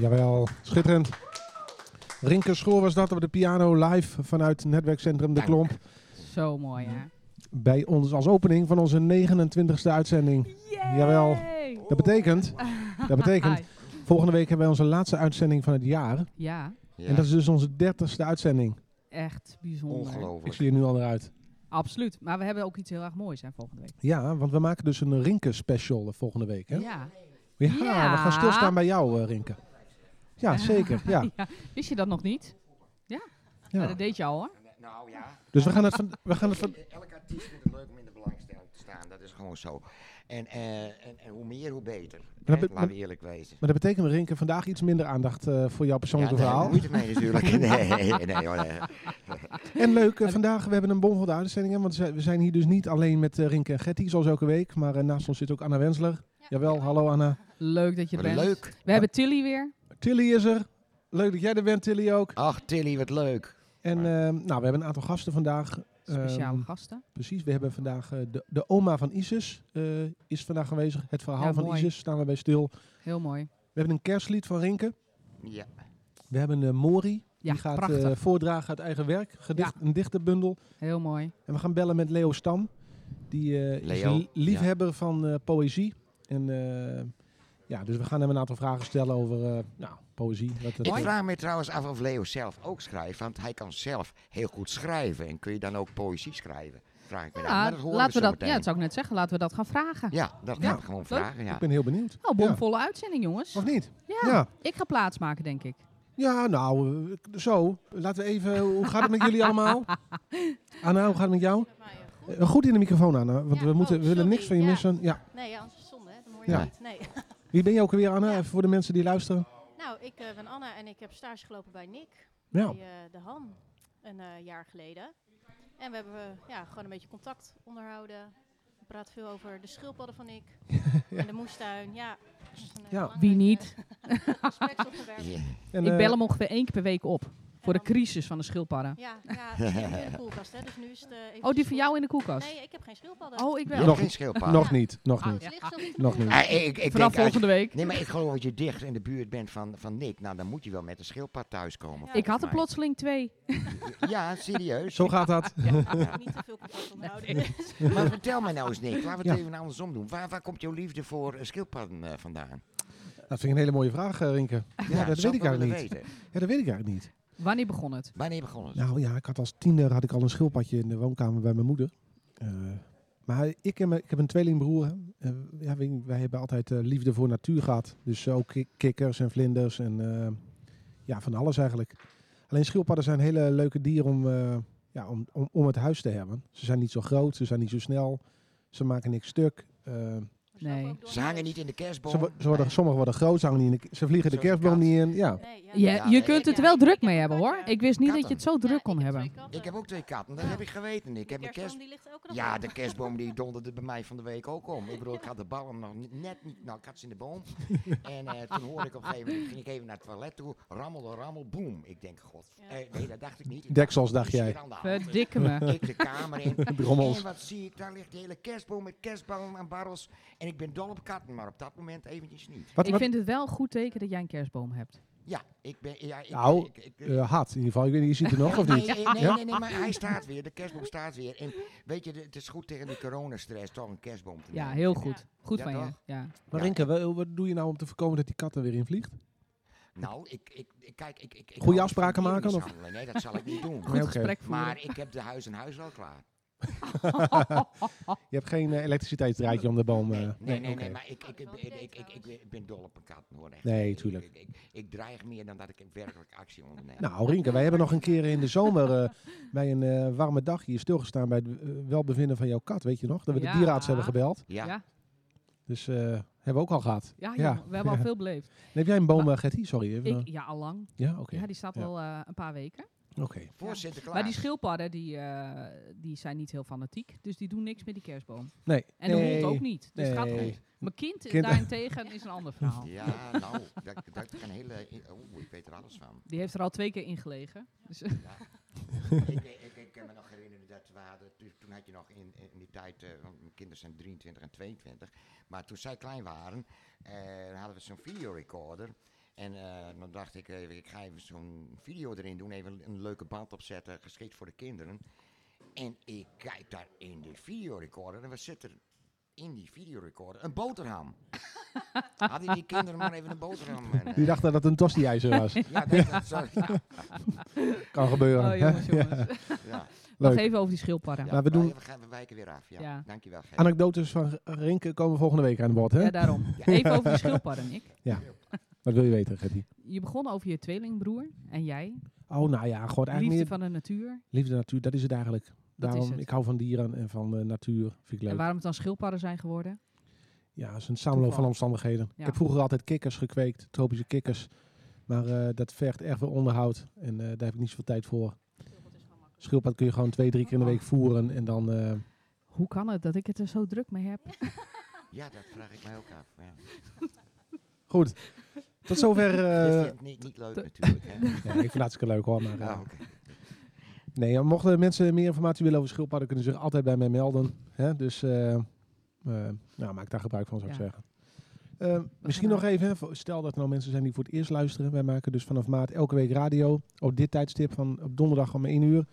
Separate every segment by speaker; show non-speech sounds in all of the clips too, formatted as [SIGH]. Speaker 1: Jawel, schitterend. Rinke Schoor was dat op de piano live vanuit netwerkcentrum De Klomp.
Speaker 2: Zo mooi, hè?
Speaker 1: Bij ons als opening van onze 29e uitzending. Jawel. Dat betekent, dat
Speaker 2: [LAUGHS]
Speaker 1: betekent, volgende week hebben wij onze laatste uitzending van het jaar.
Speaker 2: Ja,
Speaker 1: En dat is dus onze 30e uitzending.
Speaker 2: echt bijzonder.
Speaker 1: Ik
Speaker 3: Ongelooflijk.
Speaker 1: zie er nu al naar uit.
Speaker 2: Absoluut. Maar we hebben ook iets heel erg moois, hè, volgende week.
Speaker 1: Ja, want we maken dus een Rinke special eh, volgende week. Hè? Ja.
Speaker 2: Ja.
Speaker 1: we gaan
Speaker 2: Ja.
Speaker 1: stilstaan bij jou, eh, Rinke. Ja,
Speaker 2: [LAUGHS]
Speaker 1: zeker. Ja.
Speaker 2: Wist je dat nog niet? Ja.
Speaker 1: Ja.
Speaker 2: dat deed je al, hoor.
Speaker 3: Nou ja,
Speaker 1: Dus we gaan het van, we gaan het van,
Speaker 3: elke artiest vindt het leuk om in de belangstelling te staan. Dat is gewoon zo. En, eh, en, en hoe meer, hoe beter.
Speaker 1: dan
Speaker 3: Hè,
Speaker 1: be-
Speaker 3: Laten we eerlijk wezen.
Speaker 1: Maar dat betekent, Rinke, vandaag iets minder aandacht eh, voor jouw
Speaker 3: Ja,
Speaker 1: persoonlijke
Speaker 3: daar heb ik
Speaker 1: verhaal.
Speaker 3: moeite mee natuurlijk. Nee, nee, hoor, nee.
Speaker 1: [LAUGHS] En leuk, eh, vandaag we hebben een bomvolle uitzending. hè, Want ze- we zijn hier dus niet alleen met eh, Rinke en Getty, zoals elke week. Maar eh, naast ons zit ook Anna Wensler. Jawel, hallo Anna.
Speaker 2: Leuk dat je er
Speaker 3: Wat
Speaker 2: bent.
Speaker 3: leuk.
Speaker 2: We hebben Tilly weer.
Speaker 1: Tilly is er. Leuk dat jij er bent, Tilly ook.
Speaker 3: Ach, Tilly, wat leuk.
Speaker 1: En eh, nou, we hebben een aantal gasten vandaag.
Speaker 2: Speciale
Speaker 1: Ehm,
Speaker 2: gasten.
Speaker 1: Precies, we hebben vandaag eh, de, de oma van Isis eh, is vandaag aanwezig. Het verhaal
Speaker 2: Ja,
Speaker 1: van
Speaker 2: mooi.
Speaker 1: Isis staan we bij stil.
Speaker 2: Heel mooi.
Speaker 1: We hebben een kerstlied van Rinke.
Speaker 3: Ja.
Speaker 1: We hebben eh, Mori,
Speaker 2: Ja,
Speaker 1: die gaat
Speaker 2: prachtig.
Speaker 1: eh, voordragen uit eigen werk. Gedicht, Een dichterbundel.
Speaker 2: Heel mooi.
Speaker 1: En we gaan bellen met Leo Stam. Die eh, is
Speaker 3: Leo,
Speaker 1: een li- liefhebber van eh, poëzie. En eh, ja, dus we gaan hem een aantal vragen stellen over eh, nou, poëzie. Wat het-
Speaker 3: Ik vraag me trouwens af of Leo zelf ook schrijft, want hij kan zelf heel goed schrijven. En kun je dan ook poëzie schrijven? Vraag ik me af.
Speaker 2: Ja,
Speaker 3: Maar dat horen
Speaker 2: laten we dat, ja,
Speaker 3: zometeen.
Speaker 2: dat zou ik net zeggen. Laten we dat gaan vragen.
Speaker 3: Ja, dat
Speaker 2: Ja,
Speaker 3: gaan we gewoon vragen, ja.
Speaker 1: Ik ben heel benieuwd.
Speaker 2: Nou,
Speaker 1: ja.
Speaker 2: bomvolle uitzending, jongens.
Speaker 1: Of niet?
Speaker 2: Ja.
Speaker 1: Ja.
Speaker 2: Ik ga plaatsmaken, denk ik.
Speaker 1: Ja, nou, eh, zo. Laten we even... Hoe gaat het met
Speaker 2: [LAUGHS]
Speaker 1: jullie allemaal? Anna, hoe gaat het met jou? Eh, Goed in de microfoon, Anna. Want
Speaker 4: Ja,
Speaker 1: we, moeten,
Speaker 4: oh,
Speaker 1: we willen
Speaker 4: sorry,
Speaker 1: niks van je
Speaker 4: ja.
Speaker 1: missen. Ja.
Speaker 4: Nee, ja, anders is het zonde, hè? Dan hoor je
Speaker 3: Ja.
Speaker 4: niet. Nee. [LAUGHS]
Speaker 1: Wie ben je ook weer, Anna? Even voor de mensen die luisteren.
Speaker 4: Nou, ik eh, ben Anna en ik heb stage gelopen bij Nick,
Speaker 1: Ja.
Speaker 4: bij eh, de Han, een eh, jaar geleden. En we hebben eh, ja, gewoon een beetje contact onderhouden. We praten veel over de schildpadden van Nick en de moestuin. Ja, dat is een, eh, belangrijk,
Speaker 1: Ja.
Speaker 2: Wie
Speaker 4: [LAUGHS]
Speaker 2: niet?
Speaker 4: eh, gespreksonderwerp.
Speaker 3: Ja.
Speaker 1: En,
Speaker 2: ik
Speaker 1: eh,
Speaker 2: bel hem ongeveer één keer per week op. Voor de
Speaker 4: dan-
Speaker 2: crisis van de schildpadden.
Speaker 4: Ja, ja, het is
Speaker 3: [LAUGHS]
Speaker 4: in de koelkast, hè? Dus nu is het. eh, even
Speaker 2: Oh, die voor jou in de koelkast?
Speaker 4: Nee, ik heb geen schildpadden.
Speaker 2: Oh, ik
Speaker 3: Je
Speaker 2: wel.
Speaker 3: hebt
Speaker 1: Nog-
Speaker 3: geen schildpad.
Speaker 1: Nog niet, nog
Speaker 2: Ah,
Speaker 1: niet.
Speaker 4: Het ligt zelfs in de
Speaker 1: Nog niet.
Speaker 4: koelkast.
Speaker 3: Ah, ik,
Speaker 2: Vanaf
Speaker 3: ik denk, als je-
Speaker 2: volgende week.
Speaker 3: Nee, maar ik geloof dat je dicht in de buurt bent van, van Nick. Nou, dan moet je wel met een schildpad thuiskomen.
Speaker 4: Ik
Speaker 2: Ik
Speaker 3: volgens
Speaker 2: had er
Speaker 3: mij.
Speaker 2: plotseling twee.
Speaker 3: Ja, serieus.
Speaker 1: Zo gaat dat. [LAUGHS]
Speaker 4: Ik heb Niet te veel contact onderhouden. dus. [LAUGHS]
Speaker 3: [LAUGHS] Maar vertel mij nou eens, Nick. Laten we het
Speaker 1: Ja.
Speaker 3: even andersom doen. Waar, waar komt jouw liefde voor eh, schildpadden eh, vandaan?
Speaker 1: Dat vind ik een hele mooie vraag, eh, Rinke. Ja, dat
Speaker 3: zou
Speaker 1: weet ik
Speaker 3: wel
Speaker 1: eigenlijk
Speaker 3: willen
Speaker 1: niet.
Speaker 3: weten.
Speaker 1: Ja, dat weet ik eigenlijk niet.
Speaker 2: Wanneer begon het?
Speaker 3: Wanneer begon het?
Speaker 1: Nou ja, ik had als tiener had ik al een schildpadje in de woonkamer bij mijn moeder. Eh, maar ik, en mijn- ik heb een tweelingbroer. hè. Eh, ja, wij, wij hebben altijd eh, liefde voor natuur gehad. Dus eh, ook ki- kikkers en vlinders en eh, ja, van alles eigenlijk. Alleen schildpadden zijn hele leuke dieren om, eh, ja, om, om, om het huis te hebben. Ze zijn niet zo groot, ze zijn niet zo snel, ze maken niks stuk. Eh,
Speaker 4: We slapen
Speaker 2: Nee.
Speaker 4: ook door
Speaker 3: Ze
Speaker 4: een
Speaker 3: hangen
Speaker 4: neus.
Speaker 3: niet in de kerstboom.
Speaker 1: ze, wo- ze worden, sommige worden groot, ze, hangen niet in de, k- ze vliegen de
Speaker 3: Zoals een
Speaker 1: kerstboom
Speaker 3: kat.
Speaker 1: niet in. Ja.
Speaker 4: Nee, ja,
Speaker 2: Je,
Speaker 4: ja,
Speaker 2: je
Speaker 3: nee,
Speaker 2: kunt
Speaker 3: ik-
Speaker 2: het
Speaker 4: ja,
Speaker 2: wel
Speaker 4: ik-
Speaker 2: druk
Speaker 4: ik heb
Speaker 2: mee
Speaker 4: een
Speaker 2: hebben,
Speaker 4: kat,
Speaker 2: hoor.
Speaker 4: ja.
Speaker 2: Ik wist niet dat je
Speaker 3: Katten.
Speaker 2: het zo druk kon
Speaker 4: ik heb
Speaker 2: hebben.
Speaker 4: twee katten.
Speaker 3: Ik heb ook twee katten, dat
Speaker 4: Ja.
Speaker 3: heb ik geweten. Ik heb
Speaker 4: de
Speaker 3: een kerst...
Speaker 4: kerstboom die ligt elke dag
Speaker 3: Ja,
Speaker 4: op.
Speaker 3: de kerstboom
Speaker 4: [LAUGHS]
Speaker 3: die donderde bij mij van de week ook om. Ik bedoel, ik had de ballen nog ni- net niet. Nou, ik had ze in de
Speaker 4: [LAUGHS]
Speaker 3: boom. en eh, toen hoorde ik op een gegeven moment, ging ik even naar het toilet toe. Rammelde, rammel, boem. Ik denk, god.
Speaker 4: Ja.
Speaker 3: eh, nee, dat dacht ik niet. Ik
Speaker 1: Deksels,
Speaker 3: dacht,
Speaker 1: dacht
Speaker 3: wat is
Speaker 1: jij.
Speaker 3: hier aan de hand?
Speaker 2: Verdikke me.
Speaker 3: Ik de kamer
Speaker 1: [LAUGHS]
Speaker 3: in.
Speaker 1: Drommels.
Speaker 3: En wat zie ik? Daar ligt de hele kerstboom met kerstballen en barrels. En ik ben dol op katten, maar op dat moment eventjes niet.
Speaker 1: Wat,
Speaker 2: Ik
Speaker 1: wat,
Speaker 2: vind het wel een goed teken dat jij een kerstboom hebt.
Speaker 3: Ja, ik ben... Ja, ik,
Speaker 1: Nou,
Speaker 3: ik- ik-
Speaker 1: eh, had in ieder geval. Ik weet niet, je ziet
Speaker 2: [LAUGHS]
Speaker 1: het nog
Speaker 3: [LAUGHS]
Speaker 1: of
Speaker 3: Nee,
Speaker 1: niet?
Speaker 3: nee, nee,
Speaker 1: Ja?
Speaker 3: nee, nee, maar hij staat weer. De
Speaker 1: [LAUGHS]
Speaker 3: kerstboom staat weer. En weet je, de- het is goed tegen die coronastress toch een kerstboom te
Speaker 2: Ja,
Speaker 3: nemen.
Speaker 2: heel goed. Goed
Speaker 3: Ja,
Speaker 2: van je.
Speaker 3: toch?
Speaker 2: Ja.
Speaker 1: Maar
Speaker 3: Ja.
Speaker 1: Rinke, wa- wat doe je nou om te voorkomen dat die kat er weer in
Speaker 2: [LAUGHS]
Speaker 1: vliegt?
Speaker 3: Nou, ik, ik, ik kijk, ik, ik, ik
Speaker 1: Goeie
Speaker 3: hou
Speaker 1: afspraken
Speaker 3: van
Speaker 1: maken, of?
Speaker 3: dierenmishandeling. Nee, dat zal ik niet doen.
Speaker 2: Goed
Speaker 1: Nee, oké.
Speaker 2: gesprek voeren.
Speaker 3: Maar ik heb de huis en huis wel klaar.
Speaker 1: Je hebt geen eh, elektriciteitsdraadje om de boom. eh,
Speaker 3: Nee, nee, nee,
Speaker 1: oké.
Speaker 3: nee, maar ik, ik, ik, ik, ik, ik, ik ben dol op een kat, hoor. Echt.
Speaker 1: Nee,
Speaker 3: Ik-
Speaker 1: tuurlijk.
Speaker 3: Ik, ik, ik dreig meer dan dat ik werkelijk actie onderneem.
Speaker 1: Nou, Rinke, wij hebben nog een keer in de zomer
Speaker 2: [LAUGHS]
Speaker 1: eh, bij een eh, warme dag hier stilgestaan bij het eh, welbevinden van jouw kat, weet je nog? Dat we de
Speaker 2: Ja.
Speaker 1: dierenarts hebben gebeld.
Speaker 3: ja.
Speaker 2: Ja,
Speaker 1: Dus eh, hebben we ook al gehad.
Speaker 2: ja,
Speaker 1: Ja.
Speaker 2: jongen, we hebben
Speaker 1: [LAUGHS]
Speaker 2: al veel beleefd.
Speaker 1: En heb jij een boom, eh, Gertie? Sorry. Even, eh,
Speaker 2: Ik, ja, allang.
Speaker 1: ja, oké.
Speaker 2: Ja, die staat
Speaker 1: Ja.
Speaker 2: al eh, een paar weken.
Speaker 1: Oké.
Speaker 3: voor
Speaker 2: Ja.
Speaker 3: Sinterklaas.
Speaker 2: Maar die schildpadden, die, eh, die zijn niet heel fanatiek. Dus die doen niks met die kerstboom.
Speaker 1: Nee.
Speaker 2: En de hond ook niet. Dus het gaat
Speaker 1: Nee.
Speaker 2: goed. Mijn kind,
Speaker 1: Kind-
Speaker 2: daarentegen is een
Speaker 3: [LAUGHS]
Speaker 2: ander verhaal.
Speaker 3: Ja, nou, dat, dat kan hele... Oeh, ik weet er alles van.
Speaker 2: Die heeft er al twee keer in gelegen. Dus, [LAUGHS]
Speaker 3: Ja. ik, ik, ik kan me nog herinneren dat we hadden, toen- toen had je nog in, in die tijd, eh, want mijn kinderen zijn 23 en 22, maar toen zij klein waren, eh, hadden we zo'n videorecorder En eh, dan dacht ik, eh, ik ga even zo'n video erin doen, even een leuke band opzetten, geschikt voor de kinderen. En ik kijk daar in de videorecorder en wat zit er in die videorecorder? Een boterham. Hadden die kinderen maar even een boterham. En, eh,
Speaker 1: Die dachten dat het een tosti-ijzer was.
Speaker 3: ja, dat, dat, zo, ja,
Speaker 1: [LAUGHS] kan gebeuren.
Speaker 2: Oh,
Speaker 1: hè?
Speaker 2: jongens, jongens.
Speaker 3: ja.
Speaker 2: Nog
Speaker 1: Leuk.
Speaker 2: even over die schildpadden.
Speaker 3: Ja,
Speaker 1: Maar we doen-
Speaker 3: wij- we, gaan, we wijken weer af. Ja.
Speaker 2: Ja.
Speaker 3: Dankjewel, Gerrit.
Speaker 1: Anekdotes van Renke komen volgende week aan bod, hè?
Speaker 2: Ja, daarom.
Speaker 3: Ja.
Speaker 2: Even over die schildpadden, Nick.
Speaker 1: Wat wil je weten, Gertie?
Speaker 2: Je begon over je tweelingbroer en jij.
Speaker 1: Oh, nou ja, god, eigenlijk
Speaker 2: Liefde
Speaker 1: meer
Speaker 2: van de natuur.
Speaker 1: liefde natuur, dat is het eigenlijk. Daarom,
Speaker 2: het.
Speaker 1: ik hou van dieren en van eh, natuur, vind ik leuk.
Speaker 2: En waarom het dan schildpadden zijn geworden.
Speaker 1: Ja, het is een samenloop van
Speaker 2: Toeval.
Speaker 1: omstandigheden.
Speaker 2: Ja.
Speaker 1: Ik heb vroeger altijd kikkers gekweekt, tropische kikkers. Maar eh, dat vergt echt veel onderhoud en eh, daar heb ik niet zoveel tijd voor. Schildpad kun je gewoon twee, drie keer in de week voeren en dan... eh,
Speaker 2: Hoe kan het dat ik het er zo druk mee heb?
Speaker 3: Ja, dat vraag ik mij ook af. Ja.
Speaker 1: goed, tot zover...
Speaker 3: [LAUGHS] Is
Speaker 1: eh,
Speaker 3: dit niet, niet leuk
Speaker 2: de-
Speaker 3: natuurlijk.
Speaker 1: [LAUGHS]
Speaker 3: Hè?
Speaker 1: ja, ik vind het hartstikke leuk hoor, maar... eh,
Speaker 3: Ja, oké.
Speaker 1: Nee, ja, mochten mensen meer informatie willen over schildpadden, kunnen ze zich altijd bij mij melden. Hè? Dus eh, eh, nou, maak daar gebruik van, zou ik
Speaker 2: Ja.
Speaker 1: zeggen. Eh, misschien
Speaker 2: gaan
Speaker 1: nog even, hè, voor- stel dat er nou mensen zijn die voor het eerst luisteren. Wij maken dus vanaf maart elke week radio. Op dit tijdstip van op donderdag om 1 uur.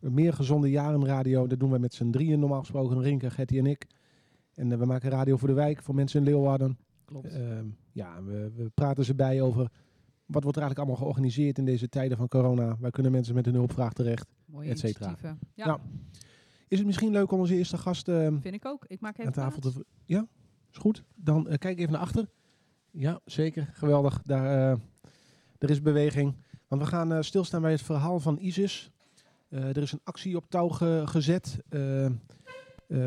Speaker 1: Meer gezonde jaren radio. Dat doen wij met z'n drieën normaal gesproken. Rinke, Gertie en ik. En eh, we maken radio voor de wijk, voor mensen in Leeuwarden.
Speaker 2: Klopt.
Speaker 3: Eh.
Speaker 1: Ehm, ja, we, we praten ze bij over wat wordt er eigenlijk allemaal georganiseerd in deze tijden van corona. Waar kunnen mensen met een hulpvraag terecht?
Speaker 2: Mooie
Speaker 1: et cetera.
Speaker 2: initiatieven. Ja,
Speaker 1: Nou, Is het misschien leuk om onze eerste gast ehm,
Speaker 2: vind ik ook. Ik maak even
Speaker 1: aan tafel te...
Speaker 2: plaats.
Speaker 1: v- Ja, is goed. Dan eh, kijk even naar achter. Ja, zeker. Geweldig. Daar, eh, er is beweging. Want we gaan eh, stilstaan bij het verhaal van ISIS. Eh, er is een actie op touw ge- gezet eh, eh,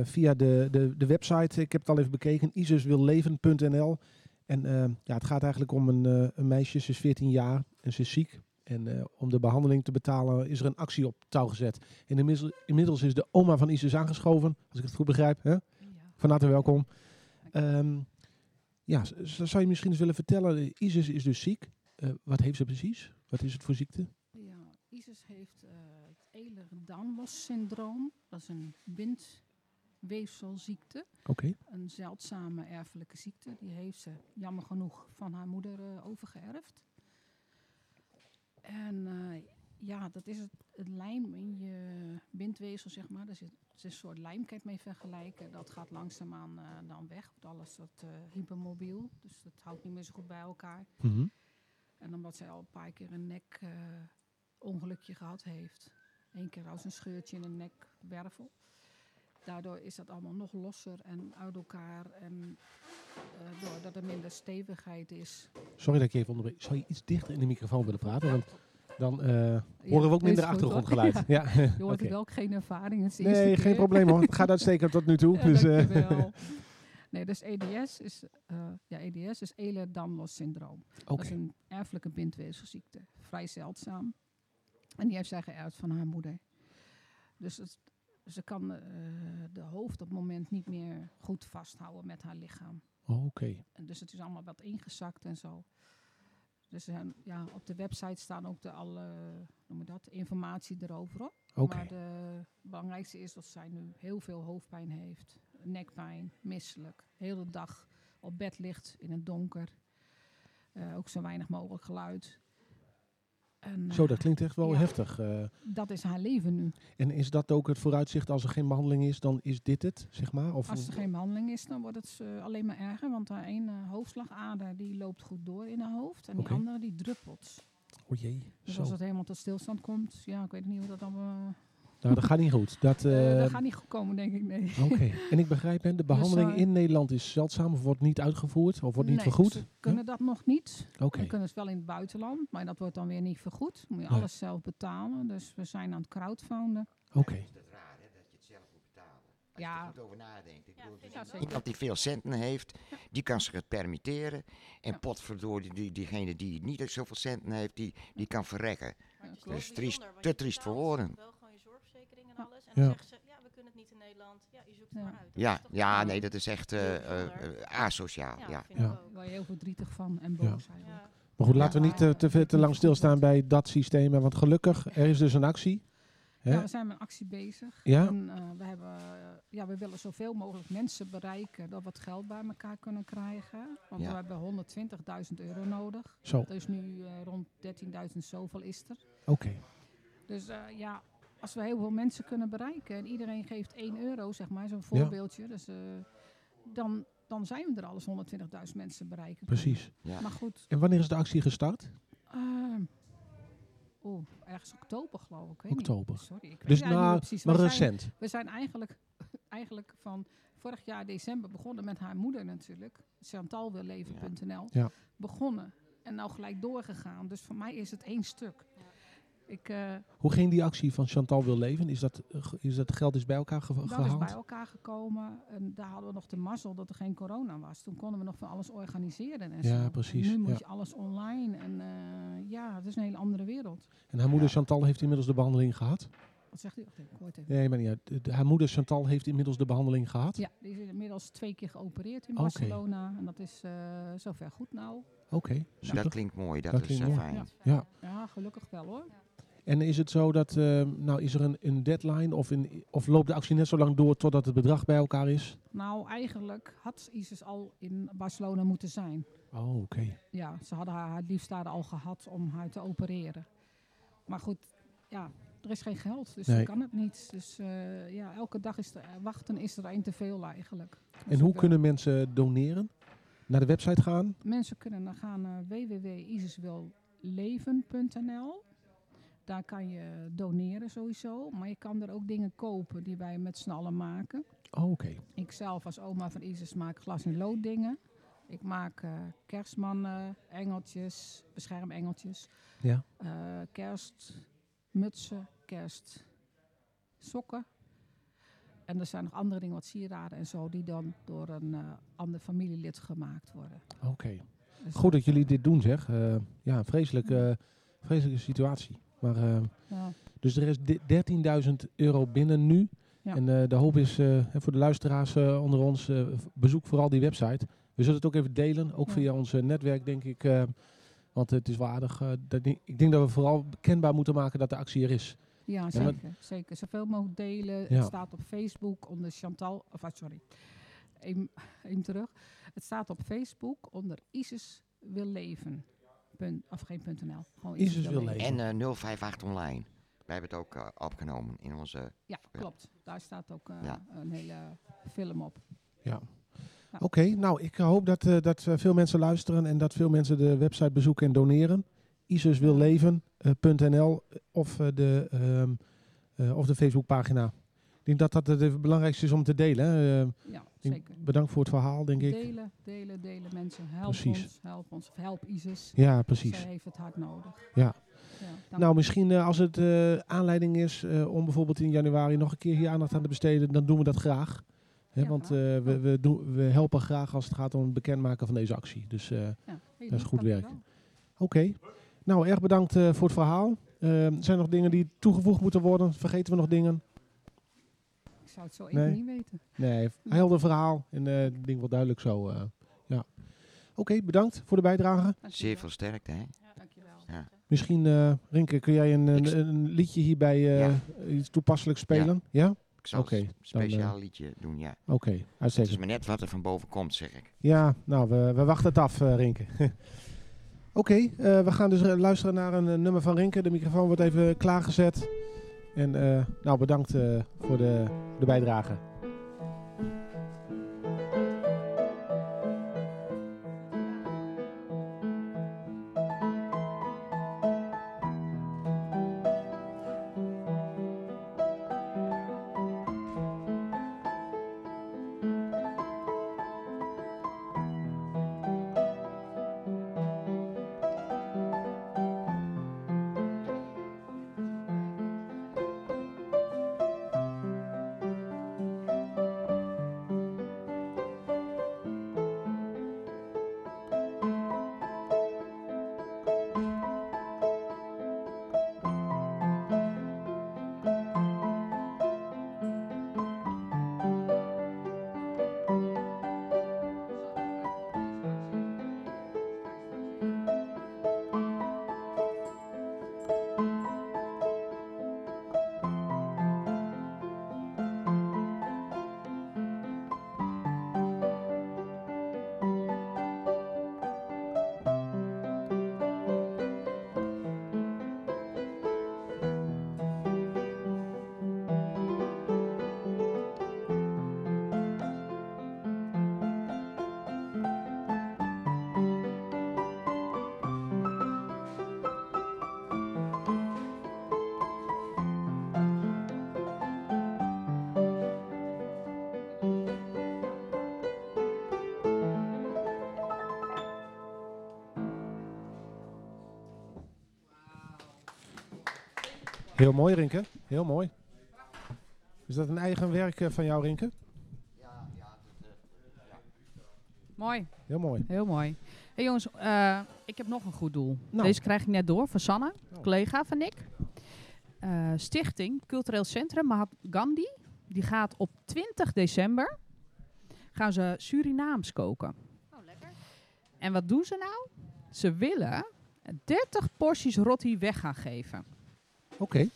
Speaker 1: via de, de, de website. Ik heb het al even bekeken. ISISwilleven.nl En eh, ja, het gaat eigenlijk om een, eh, een meisje. Ze is 14 jaar en ze is ziek. En eh, om de behandeling te betalen is er een actie op touw gezet. En inmiddels, inmiddels is de oma van ISIS aangeschoven. Als ik het goed begrijp. Hè?
Speaker 2: Ja.
Speaker 1: Van harte welkom. Ehm, ja, z- z- zou je misschien eens willen vertellen, eh, Isis is dus ziek. Eh, wat heeft ze precies? Wat is het voor ziekte?
Speaker 5: Ja, Isis heeft eh, het Ehlers-Danlos-syndroom. Dat is een bindweefselziekte.
Speaker 1: Oké.
Speaker 5: Een zeldzame erfelijke ziekte. Die heeft ze jammer genoeg van haar moeder eh, overgeërfd. En eh, ja, dat is het, het lijm in je bindweefsel, zeg maar. Daar zit, het is een soort lijm, kan je het mee vergelijken. Dat gaat langzaamaan eh, dan weg. Want alles dat eh, hypermobiel. Dus dat houdt niet meer zo goed bij elkaar.
Speaker 1: Mhm.
Speaker 5: En omdat zij al een paar keer een nekongelukje gehad heeft. Eén keer als een scheurtje in een nekwervel. Daardoor is dat allemaal nog losser en uit elkaar. En eh, doordat er minder stevigheid is.
Speaker 1: Sorry dat ik je even onderbreek. Zou je iets dichter in de microfoon willen praten? Want dan eh,
Speaker 5: Ja,
Speaker 1: horen we ook
Speaker 5: is
Speaker 1: minder
Speaker 5: goed, hoor. [LAUGHS]
Speaker 1: achtergrondgeluid.
Speaker 5: Ja,
Speaker 1: Ja.
Speaker 5: Je hoort
Speaker 1: [LAUGHS] Oké.
Speaker 5: wel geen ervaring. Het is de
Speaker 1: Nee,
Speaker 5: eerste
Speaker 1: geen
Speaker 5: keer.
Speaker 1: probleem
Speaker 5: [LAUGHS]
Speaker 1: hoor. Het gaat uitstekend tot nu toe.
Speaker 5: Ja,
Speaker 1: dus, eh, [LAUGHS]
Speaker 5: dankjewel. Nee, dus EDS is, eh ja, EDS is Ehlers-Danlos-syndroom.
Speaker 1: Oké.
Speaker 5: Dat is een erfelijke bindweefselziekte. Vrij zeldzaam. En die heeft zij geërfd van haar moeder. Dus het- ze kan eh, de hoofd op het moment niet meer goed vasthouden met haar lichaam.
Speaker 1: [LAUGHS] Oké.
Speaker 5: En dus het is allemaal wat ingezakt en zo. Dus er zijn- ja, op de website staan ook de alle hoe noem je dat, informatie erover. op.
Speaker 1: Oké.
Speaker 5: Maar de belangrijkste is dat zij nu heel veel hoofdpijn heeft. Nekpijn, misselijk. De hele dag op bed ligt in het donker. Eh, ook zo weinig mogelijk geluid. En,
Speaker 1: Zo,
Speaker 5: eh,
Speaker 1: dat klinkt echt wel
Speaker 5: Ja.
Speaker 1: heftig. eh.
Speaker 5: dat is haar leven nu.
Speaker 1: en is dat ook het vooruitzicht als er geen behandeling is, dan is dit het, zeg maar? Of,
Speaker 5: Als er geen behandeling is, dan wordt het eh, alleen maar erger. Want eh, haar ene hoofdslagader die loopt goed door in haar hoofd. En
Speaker 1: Oké.
Speaker 5: die andere die druppelt.
Speaker 1: O jee,
Speaker 5: Dus
Speaker 1: zo.
Speaker 5: als het helemaal tot stilstand komt, ja, ik weet niet hoe dat dan... eh,
Speaker 1: Nou, dat gaat niet goed. Dat,
Speaker 5: eh,
Speaker 1: eh,
Speaker 5: dat gaat niet goed komen, denk ik, nee.
Speaker 1: Oké, en ik begrijp, hè, de behandeling
Speaker 5: eh,
Speaker 1: in Nederland is zeldzaam of wordt niet uitgevoerd of wordt niet
Speaker 5: Nee,
Speaker 1: vergoed. Hm?
Speaker 5: Ze kunnen dat nog niet.
Speaker 1: Oké,
Speaker 5: We kunnen het wel in het buitenland, maar dat wordt dan weer niet vergoed. Moet je
Speaker 1: Nee.
Speaker 5: alles zelf betalen. Dus we zijn aan het crowdfunden.
Speaker 1: oké.
Speaker 3: Is Dus dat raar, hè, dat je het zelf moet betalen? Als je
Speaker 5: Ja.
Speaker 3: er goed over nadenkt. Ik
Speaker 4: Ja,
Speaker 3: bedoel,
Speaker 4: vind
Speaker 5: ik
Speaker 3: die-
Speaker 5: ook.
Speaker 3: iemand die veel centen heeft, die kan zich het permitteren. En
Speaker 5: Ja.
Speaker 3: potverdorie, die, diegene die niet zoveel centen heeft, die, die kan verrekken.
Speaker 4: Maar het
Speaker 5: klopt.
Speaker 4: wel
Speaker 5: Dat
Speaker 3: is triest-
Speaker 4: bijzonder, want
Speaker 3: te
Speaker 4: je
Speaker 3: triest voor
Speaker 4: betaalt
Speaker 3: woorden.
Speaker 4: Wel gewoon je zorgverzekering en alles. En dan
Speaker 1: Ja.
Speaker 4: zeggen ze, ja, we kunnen het niet in Nederland. Ja, je zoekt het
Speaker 5: Ja.
Speaker 4: maar uit. Dat is
Speaker 3: Ja,
Speaker 4: toch
Speaker 3: ja
Speaker 4: gewoon-
Speaker 3: nee, dat is echt eh, eh, eh, asociaal.
Speaker 4: Ja,
Speaker 3: Ja.
Speaker 4: vind
Speaker 1: Ja.
Speaker 4: ik
Speaker 5: Daar
Speaker 4: ook.
Speaker 5: word je heel verdrietig van en boos eigenlijk.
Speaker 4: Ja.
Speaker 1: Maar goed, laten we
Speaker 5: Ja,
Speaker 1: niet eh, te, veel- te lang stilstaan bij dat systeem. hè, Want gelukkig, er is dus een actie. Hè?
Speaker 5: Ja,
Speaker 1: Ja,
Speaker 5: we zijn met een actie bezig.
Speaker 1: ja?
Speaker 5: En, eh, we hebben eh, ja, we willen zoveel mogelijk mensen bereiken dat we het geld bij elkaar kunnen krijgen. Want
Speaker 3: Ja.
Speaker 5: we hebben 120.000 euro nodig.
Speaker 1: Zo,
Speaker 5: Dat is nu eh, rond 13.000 zoveel is er.
Speaker 1: oké.
Speaker 5: Dus eh, ja, als we heel veel mensen kunnen bereiken en iedereen geeft 1 euro, zeg maar, zo'n voorbeeldje. Dus, eh, dan, dan zijn we er al als 120.000 mensen bereiken.
Speaker 1: Precies.
Speaker 3: Ja.
Speaker 5: Maar goed,
Speaker 1: En wanneer is de actie gestart?
Speaker 5: ehm, oeh, ergens oktober geloof ik. weet
Speaker 1: Oktober.
Speaker 5: Niet. Sorry, ik weet
Speaker 1: Dus
Speaker 5: het eigenlijk
Speaker 1: na,
Speaker 5: niet precies.
Speaker 1: maar
Speaker 5: We zijn-
Speaker 1: recent.
Speaker 5: we zijn eigenlijk, [LAUGHS] eigenlijk van vorig jaar december begonnen met haar moeder natuurlijk. ChantalWilLeven.nl
Speaker 1: Ja.
Speaker 5: Begonnen. En nou gelijk doorgegaan. Dus voor mij is het één stuk.
Speaker 4: Ja.
Speaker 5: Ik, eh,
Speaker 1: Hoe ging die actie van Chantal wil leven? Is dat, eh, ge- is dat geld is bij elkaar ge-
Speaker 5: dat is
Speaker 1: gehaald?
Speaker 5: bij elkaar gekomen. En daar hadden we nog de mazzel dat er geen corona was. Toen konden we nog van alles organiseren. En
Speaker 1: Ja,
Speaker 5: zo.
Speaker 1: precies,
Speaker 5: En nu moet
Speaker 1: ja.
Speaker 5: je alles online. En eh, ja, het is een hele andere wereld.
Speaker 1: En haar moeder
Speaker 3: Ja.
Speaker 1: Chantal heeft inmiddels de behandeling gehad?
Speaker 5: Wat zegt u? Oh, Ik hoor het even.
Speaker 1: Nee, maar niet uit. De- de- Haar moeder Chantal heeft inmiddels de behandeling gehad?
Speaker 5: Ja, die is inmiddels twee keer geopereerd in
Speaker 1: Oké.
Speaker 5: Barcelona. En dat is eh, zover goed nou.
Speaker 1: Oké, super.
Speaker 3: Dat klinkt mooi, dat,
Speaker 1: Dat
Speaker 3: is
Speaker 1: klinkt
Speaker 3: eh,
Speaker 1: mooi.
Speaker 3: fijn.
Speaker 5: Ja.
Speaker 1: Ja.
Speaker 5: Ja, gelukkig wel hoor.
Speaker 1: En is het zo dat, eh, nou is er een, een deadline of, een, of loopt de actie net zo lang door totdat het bedrag bij elkaar is?
Speaker 5: Nou, eigenlijk had Isis al in Barcelona moeten zijn.
Speaker 1: Oh, oké.
Speaker 5: Ja, ze hadden haar, haar liefst daar al gehad om haar te opereren. Maar goed, ja, er is geen geld, dus
Speaker 1: Nee.
Speaker 5: dan kan het niet. Dus eh, ja, elke dag is er, eh, wachten is er één te veel eigenlijk. Dus
Speaker 1: En
Speaker 5: ik
Speaker 1: hoe
Speaker 5: wil-
Speaker 1: kunnen mensen doneren? Naar de website gaan?
Speaker 5: Mensen kunnen dan gaan eh, naar www.isiswilleven.nl. Daar kan je doneren sowieso, maar je kan er ook dingen kopen die wij met z'n allen maken.
Speaker 1: Oh, oké.
Speaker 5: Ikzelf als oma van Isis maak glas- en looddingen. Ik maak eh, kerstmannen, engeltjes, beschermengeltjes.
Speaker 1: Ja.
Speaker 5: Eh, kerstmutsen, kerstsokken. En er zijn nog andere dingen, wat sieraden en zo, die dan door een eh, ander familielid gemaakt worden.
Speaker 1: Oké.
Speaker 5: Dus
Speaker 1: Goed dat jullie dit doen zeg. Eh, ja, een vreselijke, vreselijke situatie. Maar, eh,
Speaker 5: ja.
Speaker 1: dus er is di- 13.000 euro binnen nu.
Speaker 5: Ja.
Speaker 1: En eh, de hoop is eh, voor de luisteraars eh, onder ons, eh, v- bezoek vooral die website. We zullen het ook even delen, ook
Speaker 5: Ja.
Speaker 1: via ons eh, netwerk denk ik. eh, want het is wel aardig. eh, dat, die- ik denk dat we vooral kenbaar moeten maken dat de actie er is.
Speaker 5: Ja,
Speaker 1: Ja, maar-
Speaker 5: zeker. zeker. Zoveel mogelijk delen.
Speaker 1: Ja.
Speaker 5: Het staat op Facebook onder Chantal. Of, ah, sorry, Eén één terug. Het staat op Facebook onder Isis wil leven. Punt, of geen punt .nl. Gewoon
Speaker 1: Isis wil leven.
Speaker 3: En eh, 058 online. Wij hebben het ook eh, opgenomen in onze...
Speaker 5: Ja, klopt. Daar staat ook eh,
Speaker 3: Ja.
Speaker 5: een hele film op.
Speaker 1: Ja.
Speaker 5: Ja.
Speaker 1: Oké, nou ik hoop dat, eh, dat eh, veel mensen luisteren en dat veel mensen de website bezoeken en doneren. eh, Isuswilleven.nl of, eh, de, ehm, eh, of de Facebookpagina. Ik denk dat dat het belangrijkste is om te delen. hè. Eh,
Speaker 5: Ja,
Speaker 1: ik-
Speaker 5: zeker.
Speaker 1: bedankt voor het verhaal, denk ik.
Speaker 5: Delen, delen, delen mensen. Help
Speaker 1: Precies.
Speaker 5: ons, help ons. Of help Isis.
Speaker 1: Ja, precies.
Speaker 5: Zij heeft het hard nodig.
Speaker 1: Ja.
Speaker 5: Ja, dank
Speaker 1: Nou, misschien eh, als het eh, aanleiding is eh, om bijvoorbeeld in januari nog een keer hier aandacht aan te besteden, dan doen we dat graag. Hè,
Speaker 5: Ja,
Speaker 1: want eh,
Speaker 5: graag.
Speaker 1: we, we, doen, we helpen graag als het gaat om het bekendmaken van deze actie. Dus eh,
Speaker 5: Ja, heel
Speaker 1: dat
Speaker 5: lief,
Speaker 1: is goed
Speaker 5: dankjewel.
Speaker 1: werk. Oké. Nou, erg bedankt eh, voor het verhaal. Ehm, zijn er nog dingen die toegevoegd moeten worden? Vergeten we nog dingen?
Speaker 5: Ik zou het zo even
Speaker 1: Nee.
Speaker 5: niet weten.
Speaker 1: Nee, helder verhaal. En eh het ding wel duidelijk zo. eh, ja. Oké, bedankt voor de bijdrage.
Speaker 3: Zeer
Speaker 5: Dankjewel.
Speaker 3: veel sterkte, hè?
Speaker 5: Dankjewel.
Speaker 3: Ja.
Speaker 1: Misschien, eh, Rinke, kun jij een,
Speaker 3: Ik s-
Speaker 1: een, een liedje hierbij eh, iets toepasselijks spelen? Ja?
Speaker 3: Ik zal
Speaker 1: Oké,
Speaker 3: een
Speaker 1: dan, eh,
Speaker 3: s- speciaal liedje doen, ja.
Speaker 1: Oké,
Speaker 3: Het is
Speaker 1: uitstekend.
Speaker 3: maar net wat er van boven komt, zeg ik.
Speaker 1: Ja, nou, we, we wachten het af, eh, Rinke. [LAUGHS] Oké, eh, we gaan dus eh, luisteren naar een eh, nummer van Rinke. De microfoon wordt even klaargezet. En eh, nou, bedankt eh, voor de, de bijdrage. Heel mooi, Rinke. Heel mooi. Is dat een eigen werk eh, van jou, Rinke?
Speaker 2: Mooi,
Speaker 1: Heel mooi.
Speaker 2: heel mooi. hey jongens, eh, ik heb nog een goed doel.
Speaker 1: Nou.
Speaker 2: Deze krijg ik net door van Sanne,
Speaker 1: Oh.
Speaker 2: collega van Nick. Eh, Stichting Cultureel Centrum Mahatma Gandhi. Die gaat op 20 december gaan ze Surinaams koken.
Speaker 4: Oh, lekker.
Speaker 2: En wat doen ze nou? Ze willen 30 porties rotti weg gaan geven.
Speaker 1: Oké.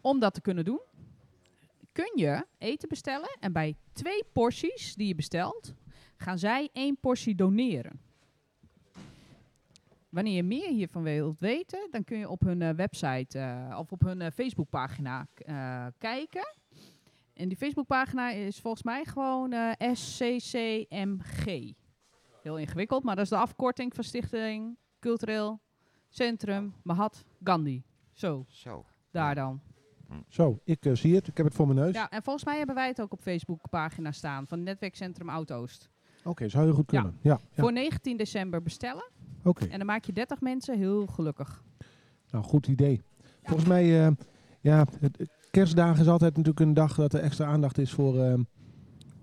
Speaker 2: Om dat te kunnen doen, kun je eten bestellen. En bij twee porties die je bestelt, gaan zij één portie doneren. Wanneer je meer hiervan wilt weten, dan kun je op hun eh, website eh, of op hun eh, Facebookpagina eh, kijken. En die Facebookpagina is volgens mij gewoon eh, SCCMG. Heel ingewikkeld, maar dat is de afkorting van Stichting Cultureel Centrum Mahat Gandhi. Zo,
Speaker 3: Zo.
Speaker 2: daar dan.
Speaker 1: Zo, ik eh, zie het. Ik heb het voor mijn neus.
Speaker 2: Hm. Ja, en volgens mij hebben wij het ook op Facebookpagina staan van Netwerkcentrum Oud-Oost.
Speaker 1: Oké, zou heel goed
Speaker 2: Ja.
Speaker 1: kunnen. Ja. ja.
Speaker 2: Voor 19 december bestellen
Speaker 1: Oké,
Speaker 2: en dan maak je 30 mensen heel gelukkig.
Speaker 1: nou goed idee. Volgens mij, eh, ja, het- het- kerstdagen is altijd natuurlijk een dag dat er extra aandacht is voor eh,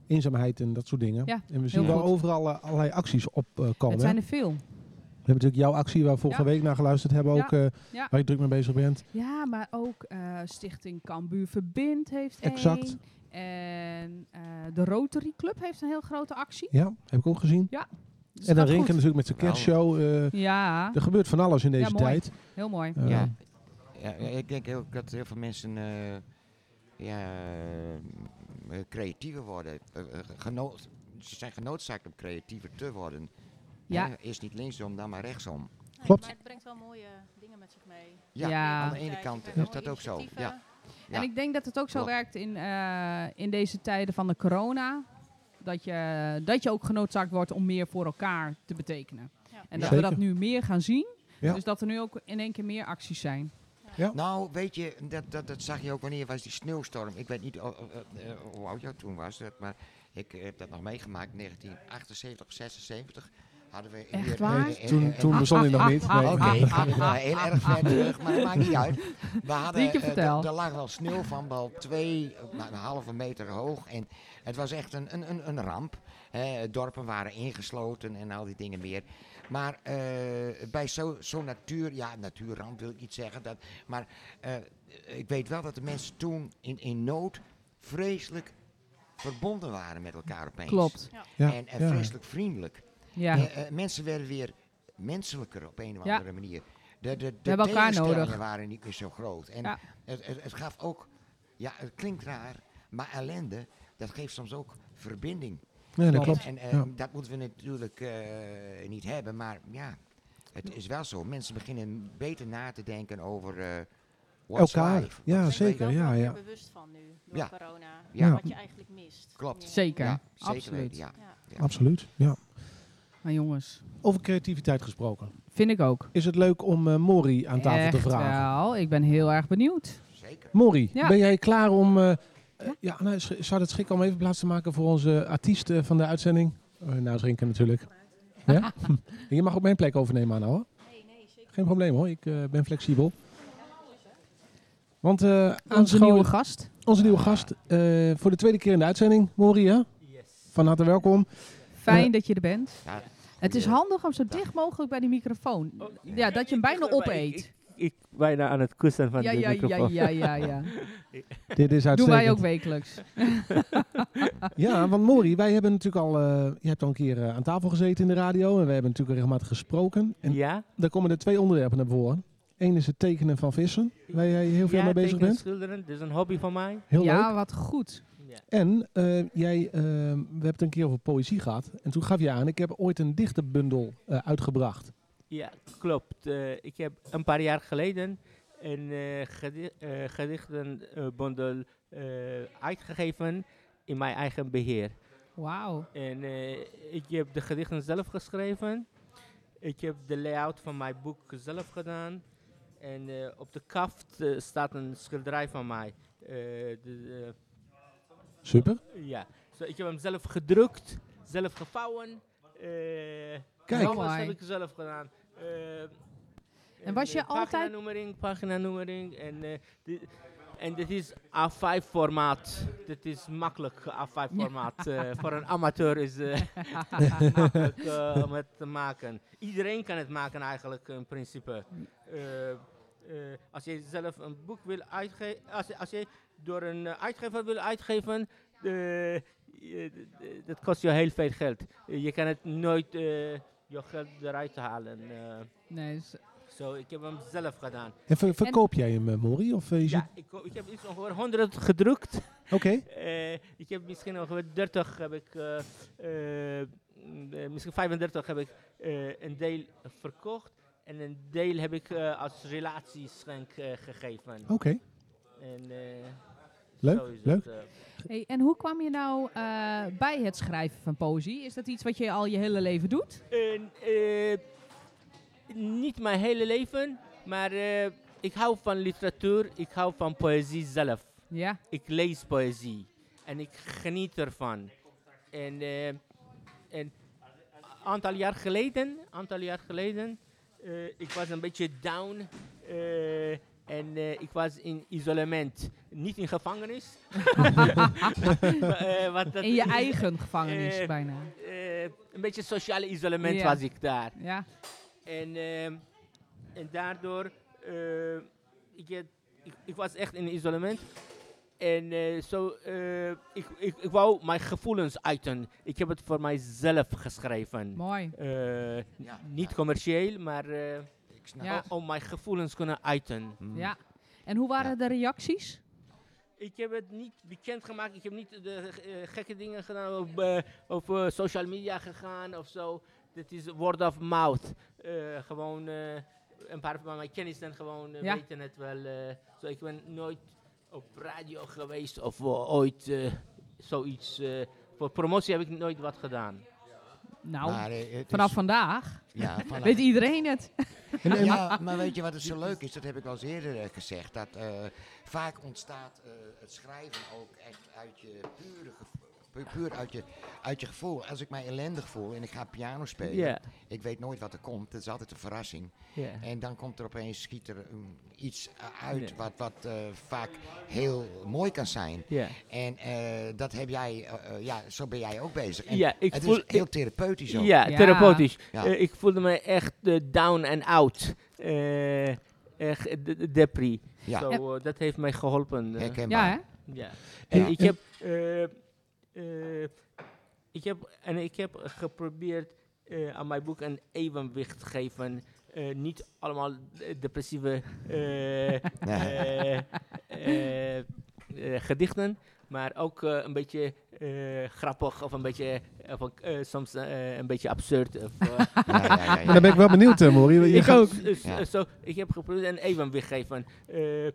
Speaker 1: eenzaamheid en dat soort dingen.
Speaker 2: Ja,
Speaker 1: en we zien wel
Speaker 2: goed.
Speaker 1: overal eh, allerlei acties opkomen.
Speaker 2: het zijn er veel.
Speaker 1: We hebben natuurlijk jouw actie waar we vorige
Speaker 2: Ja.
Speaker 1: week naar geluisterd hebben, ook, eh,
Speaker 2: Ja.
Speaker 1: waar je druk mee bezig bent.
Speaker 2: Ja, maar ook eh, Stichting Cambuur Verbind heeft
Speaker 1: Exact.
Speaker 2: één. En eh, de Rotary Club heeft een heel grote actie.
Speaker 1: Ja, heb ik ook gezien.
Speaker 2: Dus
Speaker 1: en dan
Speaker 2: gaat
Speaker 1: Rinken
Speaker 2: goed.
Speaker 1: natuurlijk met zijn
Speaker 3: Wel.
Speaker 1: kerstshow. eh,
Speaker 2: Ja,
Speaker 1: er gebeurt van alles in deze
Speaker 2: Ja, mooi.
Speaker 1: tijd.
Speaker 2: heel mooi.
Speaker 1: Eh,
Speaker 3: Ja. Ja, ja, ik denk ook dat heel veel mensen eh, ja, eh, creatiever worden. Eh, eh, geno- ze zijn genoodzaakt om creatiever te worden.
Speaker 2: Ja.
Speaker 3: Hè, Eerst niet linksom, dan maar rechtsom.
Speaker 4: Nee,
Speaker 1: Klopt.
Speaker 4: Maar het brengt wel mooie dingen met zich mee.
Speaker 3: Ja,
Speaker 2: Ja.
Speaker 3: aan de ene kant is dat ook zo. Ja. Ja.
Speaker 2: En ik denk dat het ook zo
Speaker 3: Klopt.
Speaker 2: werkt in, eh, in deze tijden van de corona. Dat je, dat je ook genoodzaakt wordt om meer voor elkaar te betekenen.
Speaker 4: Ja.
Speaker 2: En dat
Speaker 1: Zeker.
Speaker 2: we dat nu meer gaan zien.
Speaker 1: Ja.
Speaker 2: Dus dat er nu ook in één keer meer acties zijn.
Speaker 3: Nou, weet je, dat, dat, dat zag je ook wanneer was die sneeuwstorm. Ik weet niet o- o- eh, eh, hoe oud jou toen was, dat, maar ik heb dat nog meegemaakt. 1978, 76 hadden we...
Speaker 2: Echt
Speaker 3: hier-
Speaker 2: waar?
Speaker 3: eh, eh,
Speaker 1: Toen,
Speaker 3: eh,
Speaker 1: toen bestond hij nog niet.
Speaker 2: ah,
Speaker 1: Nee.
Speaker 2: ah,
Speaker 3: Oké,
Speaker 2: ah.
Speaker 3: ik ga weer wel heel erg ver terug, maar dat maakt niet uit. We hadden,
Speaker 2: Dieke,
Speaker 3: eh,
Speaker 2: vertel.
Speaker 3: d- er lag wel sneeuw van wel twee, eh, nou, een halve meter hoog. En het was echt een, een, een, een ramp. Eh, dorpen waren ingesloten en al die dingen meer. Maar eh, bij zo- zo'n natuur, ja, natuurramp wil ik niet zeggen. Dat, maar eh, ik weet wel dat de mensen toen in, in nood vreselijk verbonden waren met elkaar opeens.
Speaker 2: Klopt.
Speaker 1: Ja,
Speaker 3: En, en
Speaker 1: ja.
Speaker 3: vreselijk vriendelijk.
Speaker 2: Ja.
Speaker 3: Eh, eh, mensen werden weer menselijker op een of
Speaker 2: Ja.
Speaker 3: andere manier. De, de, de
Speaker 2: hebben elkaar
Speaker 3: tegenstellingen
Speaker 2: nodig.
Speaker 3: waren niet meer zo groot. En
Speaker 2: Ja.
Speaker 3: het, het, het gaf ook, ja, het klinkt raar, maar ellende, dat geeft soms ook verbinding.
Speaker 1: Nee, dat klopt.
Speaker 3: En, eh,
Speaker 1: ja.
Speaker 3: dat moeten we natuurlijk eh, niet hebben, maar ja, het is wel zo. Mensen beginnen beter na te denken over eh what's
Speaker 1: Elkaar.
Speaker 3: life.
Speaker 1: Ja,
Speaker 3: What's
Speaker 1: zeker,
Speaker 3: life?
Speaker 1: ja,
Speaker 4: Ik ben
Speaker 1: ja.
Speaker 4: er bewust van nu, door
Speaker 3: Ja.
Speaker 4: corona.
Speaker 3: Ja.
Speaker 4: Wat je eigenlijk mist.
Speaker 3: Klopt.
Speaker 4: Ja.
Speaker 2: Zeker.
Speaker 3: Ja, zeker
Speaker 2: Absoluut.
Speaker 3: weten, ja.
Speaker 4: Ja.
Speaker 1: Absoluut. Ja.
Speaker 2: Maar jongens,
Speaker 1: Over creativiteit gesproken.
Speaker 2: vind ik ook.
Speaker 1: Is het leuk om eh, Mori aan tafel
Speaker 2: Echt
Speaker 1: te vragen?
Speaker 2: wel. Ik ben heel erg benieuwd.
Speaker 3: Zeker.
Speaker 1: Mori,
Speaker 2: Ja.
Speaker 1: ben jij klaar om... eh, eh,
Speaker 2: Ja.
Speaker 1: ja, nou, sch- zou het schikken om even plaats te maken voor onze artiest eh, van de uitzending? Eh nou, Rinken natuurlijk.
Speaker 2: [LAUGHS]
Speaker 1: Ja? je mag ook mijn plek overnemen, Anna, hoor. Geen probleem, hoor. Ik eh, ben flexibel. Want eh
Speaker 2: Onze
Speaker 1: aanscho-
Speaker 2: nieuwe gast.
Speaker 1: onze nieuwe gast eh, voor de tweede keer in de uitzending, Mori, hè? Van harte welkom.
Speaker 2: Fijn
Speaker 1: Eh,
Speaker 2: dat je er bent.
Speaker 3: Ja,
Speaker 2: Het is
Speaker 3: goeie- Oh,
Speaker 2: handig om zo dicht mogelijk bij die microfoon. Ja, dat je hem bijna opeet.
Speaker 6: Ik bijna aan het kussen van
Speaker 2: Ja,
Speaker 6: de
Speaker 2: ja, ja,
Speaker 6: microfoon.
Speaker 2: ja, ja,
Speaker 6: [LAUGHS]
Speaker 2: ja.
Speaker 1: Dit is
Speaker 2: Doen
Speaker 1: uitstekend.
Speaker 2: wij ook wekelijks. [LAUGHS]
Speaker 1: Ja, want Mori, wij hebben natuurlijk al... eh, je hebt al een keer eh, aan tafel gezeten in de radio. En we hebben natuurlijk regelmatig gesproken. En
Speaker 6: Ja?
Speaker 1: Daar komen er twee onderwerpen naar voren. Eén is het tekenen van vissen, waar jij heel veel
Speaker 6: ja,
Speaker 1: mee bezig
Speaker 6: tekenen,
Speaker 1: bent.
Speaker 6: schilderen, dat is dus een hobby van mij.
Speaker 1: Heel
Speaker 2: Ja,
Speaker 1: leuk.
Speaker 2: wat goed.
Speaker 1: En eh, jij, eh, we hebben het een keer over poëzie gehad. En toen gaf je aan, ik heb ooit een dichtenbundel eh, uitgebracht.
Speaker 6: Ja, klopt. Eh, ik heb een paar jaar geleden een eh gedi- eh, gedichtenbondel eh, uitgegeven in mijn eigen beheer.
Speaker 2: Wauw.
Speaker 6: En eh, ik heb de gedichten zelf geschreven. Ik heb de layout van mijn boek zelf gedaan. En eh, op de kaft eh, staat een schilderij van mij. Eh, de, eh,
Speaker 1: Super.
Speaker 6: Ja, zo, ik heb hem zelf gedrukt, zelf gevouwen. eh
Speaker 1: Kijk.
Speaker 6: Alles
Speaker 2: Mooi.
Speaker 6: heb ik zelf gedaan. Eh,
Speaker 2: was je altijd-
Speaker 6: Paginanummering, paginanummering. En, eh, di- En dit is A5 formaat. Dit is makkelijk A5 formaat. Eh, voor een amateur is eh, [LAUGHS] makkelijk eh, om het te maken. Iedereen kan het maken eigenlijk in principe. Eh, eh, als je zelf een boek wil uitgeven, als, je- als je door een eh, uitgever wil uitgeven, eh, eh, d- d- dat kost je heel veel geld. Eh, je kan het nooit eh, je geld eruit halen. eh.
Speaker 2: Nee, dus-
Speaker 6: Zo, ik heb hem zelf gedaan.
Speaker 1: En ver- verkoop jij hem, eh, Mori? Of, eh,
Speaker 6: Ja,
Speaker 1: je ziet-
Speaker 6: ik, ko- ik heb iets ongeveer 100 gedrukt.
Speaker 1: Oké.
Speaker 6: Eh, ik heb misschien ongeveer 30 heb ik, eh, eh, mm, eh, misschien 35 heb ik eh, een deel verkocht. En een deel heb ik eh, als relatieschenk eh, gegeven.
Speaker 1: Oké.
Speaker 6: En, eh,
Speaker 1: Leuk,
Speaker 6: zo is
Speaker 1: leuk.
Speaker 6: Het, eh.
Speaker 2: Hey, en hoe kwam je nou eh, bij het schrijven van poëzie? Is dat iets wat je al je hele leven doet?
Speaker 6: En, eh, niet mijn hele leven, maar eh, ik hou van literatuur, ik hou van poëzie zelf.
Speaker 2: Ja.
Speaker 6: ik lees poëzie en ik geniet ervan. En eh, en een aantal jaar geleden, aantal jaar geleden, eh, ik was een beetje down eh, en eh, ik was in isolement, niet in
Speaker 2: [LAUGHS]
Speaker 6: gevangenis. [LAUGHS] Eh, want dat-
Speaker 2: In je eigen gevangenis
Speaker 6: Eh,
Speaker 2: bijna.
Speaker 6: eh, een beetje sociale isolement
Speaker 2: Ja.
Speaker 6: was ik daar.
Speaker 2: Ja.
Speaker 6: En, ehm, en daardoor, eh, ik, heb- ik, ik was echt in isolement. En eh, zo, eh, ik, ik, ik wou mijn gevoelens uiten. Ik heb het voor mijzelf geschreven.
Speaker 2: Mooi.
Speaker 6: Eh, n-
Speaker 3: Ja.
Speaker 6: Niet commercieel, maar eh,
Speaker 3: Ik snap
Speaker 2: Ja.
Speaker 3: het.
Speaker 6: om mijn gevoelens kunnen uiten.
Speaker 3: Mm.
Speaker 2: Ja. En hoe waren de reacties?
Speaker 6: Ik heb het niet bekendgemaakt. Ik heb niet de eh, gekke dingen gedaan. Of, eh, op eh, social media gegaan of zo. Dit is word of mouth. Eh, gewoon eh, een paar van mijn kennissen gewoon eh,
Speaker 2: Ja.
Speaker 6: weten het wel. eh. zo, ik ben nooit op radio geweest of eh, ooit eh, zoiets. eh, voor promotie heb ik nooit wat gedaan.
Speaker 2: Nou,
Speaker 3: Maar, eh, het
Speaker 2: vanaf
Speaker 3: is-
Speaker 2: vandaag [LAUGHS]
Speaker 3: Ja, vanaf-
Speaker 2: weet iedereen het.
Speaker 1: En, eh, en-
Speaker 3: ja, maar weet je wat het zo leuk is? Dat heb ik al eens eerder eh, gezegd. Dat eh, vaak ontstaat eh, het schrijven ook echt uit je pure gevo- pu- Puur uit je, uit je gevoel. Als ik mij ellendig voel en ik ga piano spelen,
Speaker 6: Ja.
Speaker 3: ik weet nooit wat er komt. Het is altijd een verrassing.
Speaker 6: Ja.
Speaker 3: En dan komt er opeens schiet er mm, iets eh, uit
Speaker 6: Ja.
Speaker 3: wat, wat eh, vaak heel mooi kan zijn.
Speaker 6: Ja.
Speaker 3: En eh, dat heb jij, eh, eh, ja, zo ben jij ook bezig. En
Speaker 6: Ja, ik
Speaker 3: het
Speaker 6: voel-
Speaker 3: is heel therapeutisch ook.
Speaker 6: Ja,
Speaker 2: Ja.
Speaker 6: therapeutisch.
Speaker 3: Ja.
Speaker 6: Eh, ik voelde me echt eh, down and out. Eh, echt de- de- depri.
Speaker 3: Ja.
Speaker 6: Zo, eh, dat heeft mij geholpen. eh.
Speaker 3: Herkenbaar.
Speaker 2: Ja, hè?
Speaker 6: Ja. En
Speaker 3: Ja.
Speaker 6: ik heb, eh, eh, ik heb, en ik heb geprobeerd eh, aan mijn boek een evenwicht te geven. Eh, niet allemaal eh, depressieve eh, eh, eh, eh, gedichten, maar ook eh, een beetje eh, grappig of een beetje, of, ook, eh, soms eh, een beetje absurd. Of, eh,
Speaker 3: [LAUGHS] Ja, ja, ja,
Speaker 1: maar
Speaker 3: ja.
Speaker 1: dan ben ik wel benieuwd, eh, Mori. Je
Speaker 6: ik
Speaker 1: gaat-
Speaker 6: ook. Dus,
Speaker 3: Ja.
Speaker 6: eh, zo, ik heb geprobeerd een evenwicht geven. Eh,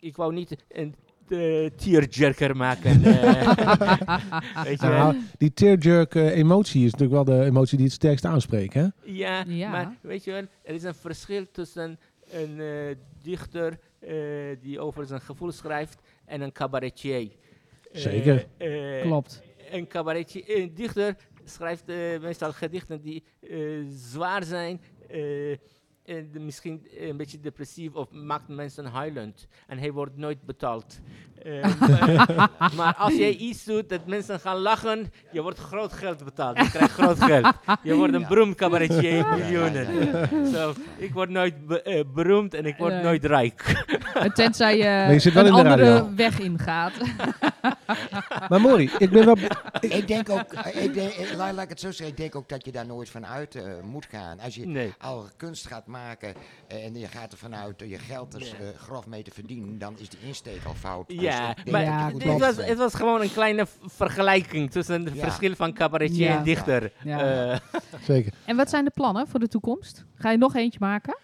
Speaker 6: ik wou niet een eh, tearjerker maken. eh. Weet je wel?
Speaker 1: Nou, die tearjerk eh, emotie is natuurlijk wel de emotie die het sterkst aanspreekt. Hè?
Speaker 6: Ja,
Speaker 2: Ja.
Speaker 6: maar weet je wel, er is een verschil tussen een eh, dichter eh, die over zijn gevoel schrijft en een cabaretier. Eh,
Speaker 1: Zeker.
Speaker 6: eh,
Speaker 2: Klopt.
Speaker 6: Een cabaretier, een dichter schrijft eh, meestal gedichten die eh, zwaar zijn. eh, en de- misschien een beetje depressief of maakt mensen huilend. En hij wordt nooit betaald. Eh,
Speaker 2: [LAUGHS]
Speaker 6: maar, maar als jij iets doet dat mensen gaan lachen, je wordt groot geld betaald. Je krijgt groot
Speaker 3: [LAUGHS]
Speaker 6: geld. Je wordt een
Speaker 3: Ja.
Speaker 6: beroemd cabaretier,
Speaker 3: Ja, ja,
Speaker 6: miljoenen.
Speaker 3: ja, ja, ja.
Speaker 6: Zo, ik word nooit be- eh, beroemd en ik word
Speaker 2: Nee.
Speaker 6: nooit rijk.
Speaker 2: En [LAUGHS] Tenzij je,
Speaker 1: je zit wel
Speaker 2: een
Speaker 1: in de
Speaker 2: andere
Speaker 1: radio.
Speaker 2: weg ingaat. [LAUGHS]
Speaker 1: Maar Mori, ik ben wel... be-
Speaker 3: ik denk ook, eh, ik denk, eh, laat, laat ik het zo zeggen, ik denk ook dat je daar nooit van uit eh, moet gaan. Als je
Speaker 6: Nee.
Speaker 3: al kunst gaat maken eh, en je gaat ervan uit eh, je geld er
Speaker 6: Ja.
Speaker 3: eh, grof mee te verdienen, dan is die insteek al fout. Dus
Speaker 6: [LAUGHS] Ja,
Speaker 3: ik denk
Speaker 6: maar
Speaker 3: dat je
Speaker 2: Ja,
Speaker 3: moet
Speaker 6: het, was,
Speaker 3: opletten.
Speaker 6: het was gewoon een kleine v- vergelijking tussen het
Speaker 3: Ja.
Speaker 6: verschil van cabaretier
Speaker 2: Ja.
Speaker 6: en dichter.
Speaker 2: Ja.
Speaker 6: Eh,
Speaker 1: Zeker.
Speaker 2: En wat zijn de plannen voor de toekomst? Ga je nog eentje maken?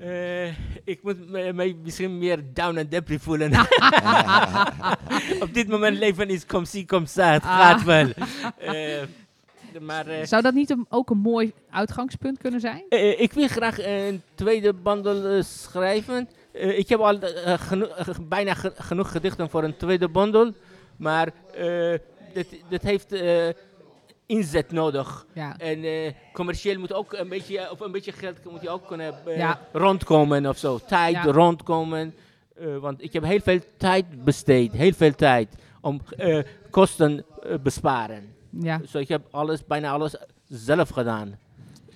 Speaker 6: Eh, ik moet me, mij misschien meer down en deppy
Speaker 3: [LAUGHS]
Speaker 6: voelen. [LAUGHS] Op dit moment leven is kom zie, kom sa, het
Speaker 3: Ah.
Speaker 6: gaat
Speaker 3: [LAUGHS]
Speaker 6: wel. Eh, maar eh,
Speaker 2: Zou dat niet een- ook een mooi uitgangspunt kunnen zijn?
Speaker 6: eh, ik wil graag een tweede bundel eh, schrijven. Eh, ik heb al eh, geno- eh, bijna ge- genoeg gedichten voor een tweede bundel. Maar eh dat, dat heeft eh, inzet nodig.
Speaker 2: Ja.
Speaker 6: En eh, commercieel moet ook een beetje, op een beetje geld moet je ook kunnen eh,
Speaker 2: Ja.
Speaker 6: rondkomen of zo. Tijd
Speaker 2: Ja.
Speaker 6: rondkomen. Eh, eh, want ik heb heel veel tijd besteed, heel veel tijd om eh, kosten eh, besparen.
Speaker 2: Ja.
Speaker 6: Dus ik heb alles, bijna alles zelf gedaan.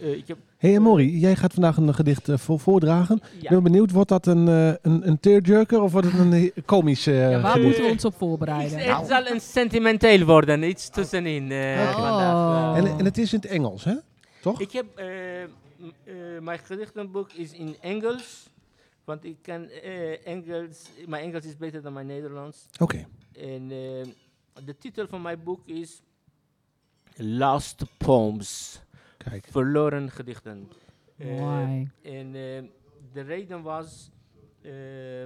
Speaker 6: Eh, ik heb,
Speaker 1: hey, Mori, jij gaat vandaag een gedicht eh, vo- voordragen. Ik
Speaker 6: ja.
Speaker 1: ben benieuwd, wordt dat een, eh, een, een tearjerker of wordt het een he- komisch eh,
Speaker 2: Ja, waar
Speaker 1: gedicht?
Speaker 2: moeten we ons op
Speaker 6: Iets-
Speaker 2: voorbereiden?
Speaker 1: Nou.
Speaker 6: het zal een sentimenteel worden, iets tussenin eh,
Speaker 1: Oké.
Speaker 6: vandaag. ja.
Speaker 2: Oh.
Speaker 1: En, en het is in het Engels, hè? Toch?
Speaker 6: Ik heb, eh, m- eh, mijn gedichtenboek is in Engels, want ik kan eh, Engels, mijn Engels is beter dan mijn Nederlands.
Speaker 1: Oké.
Speaker 6: En eh, de titel van mijn boek is Lost Poems,
Speaker 1: Kijk.
Speaker 6: verloren gedichten. Eh,
Speaker 2: Why?
Speaker 6: en eh, de reden was, eh,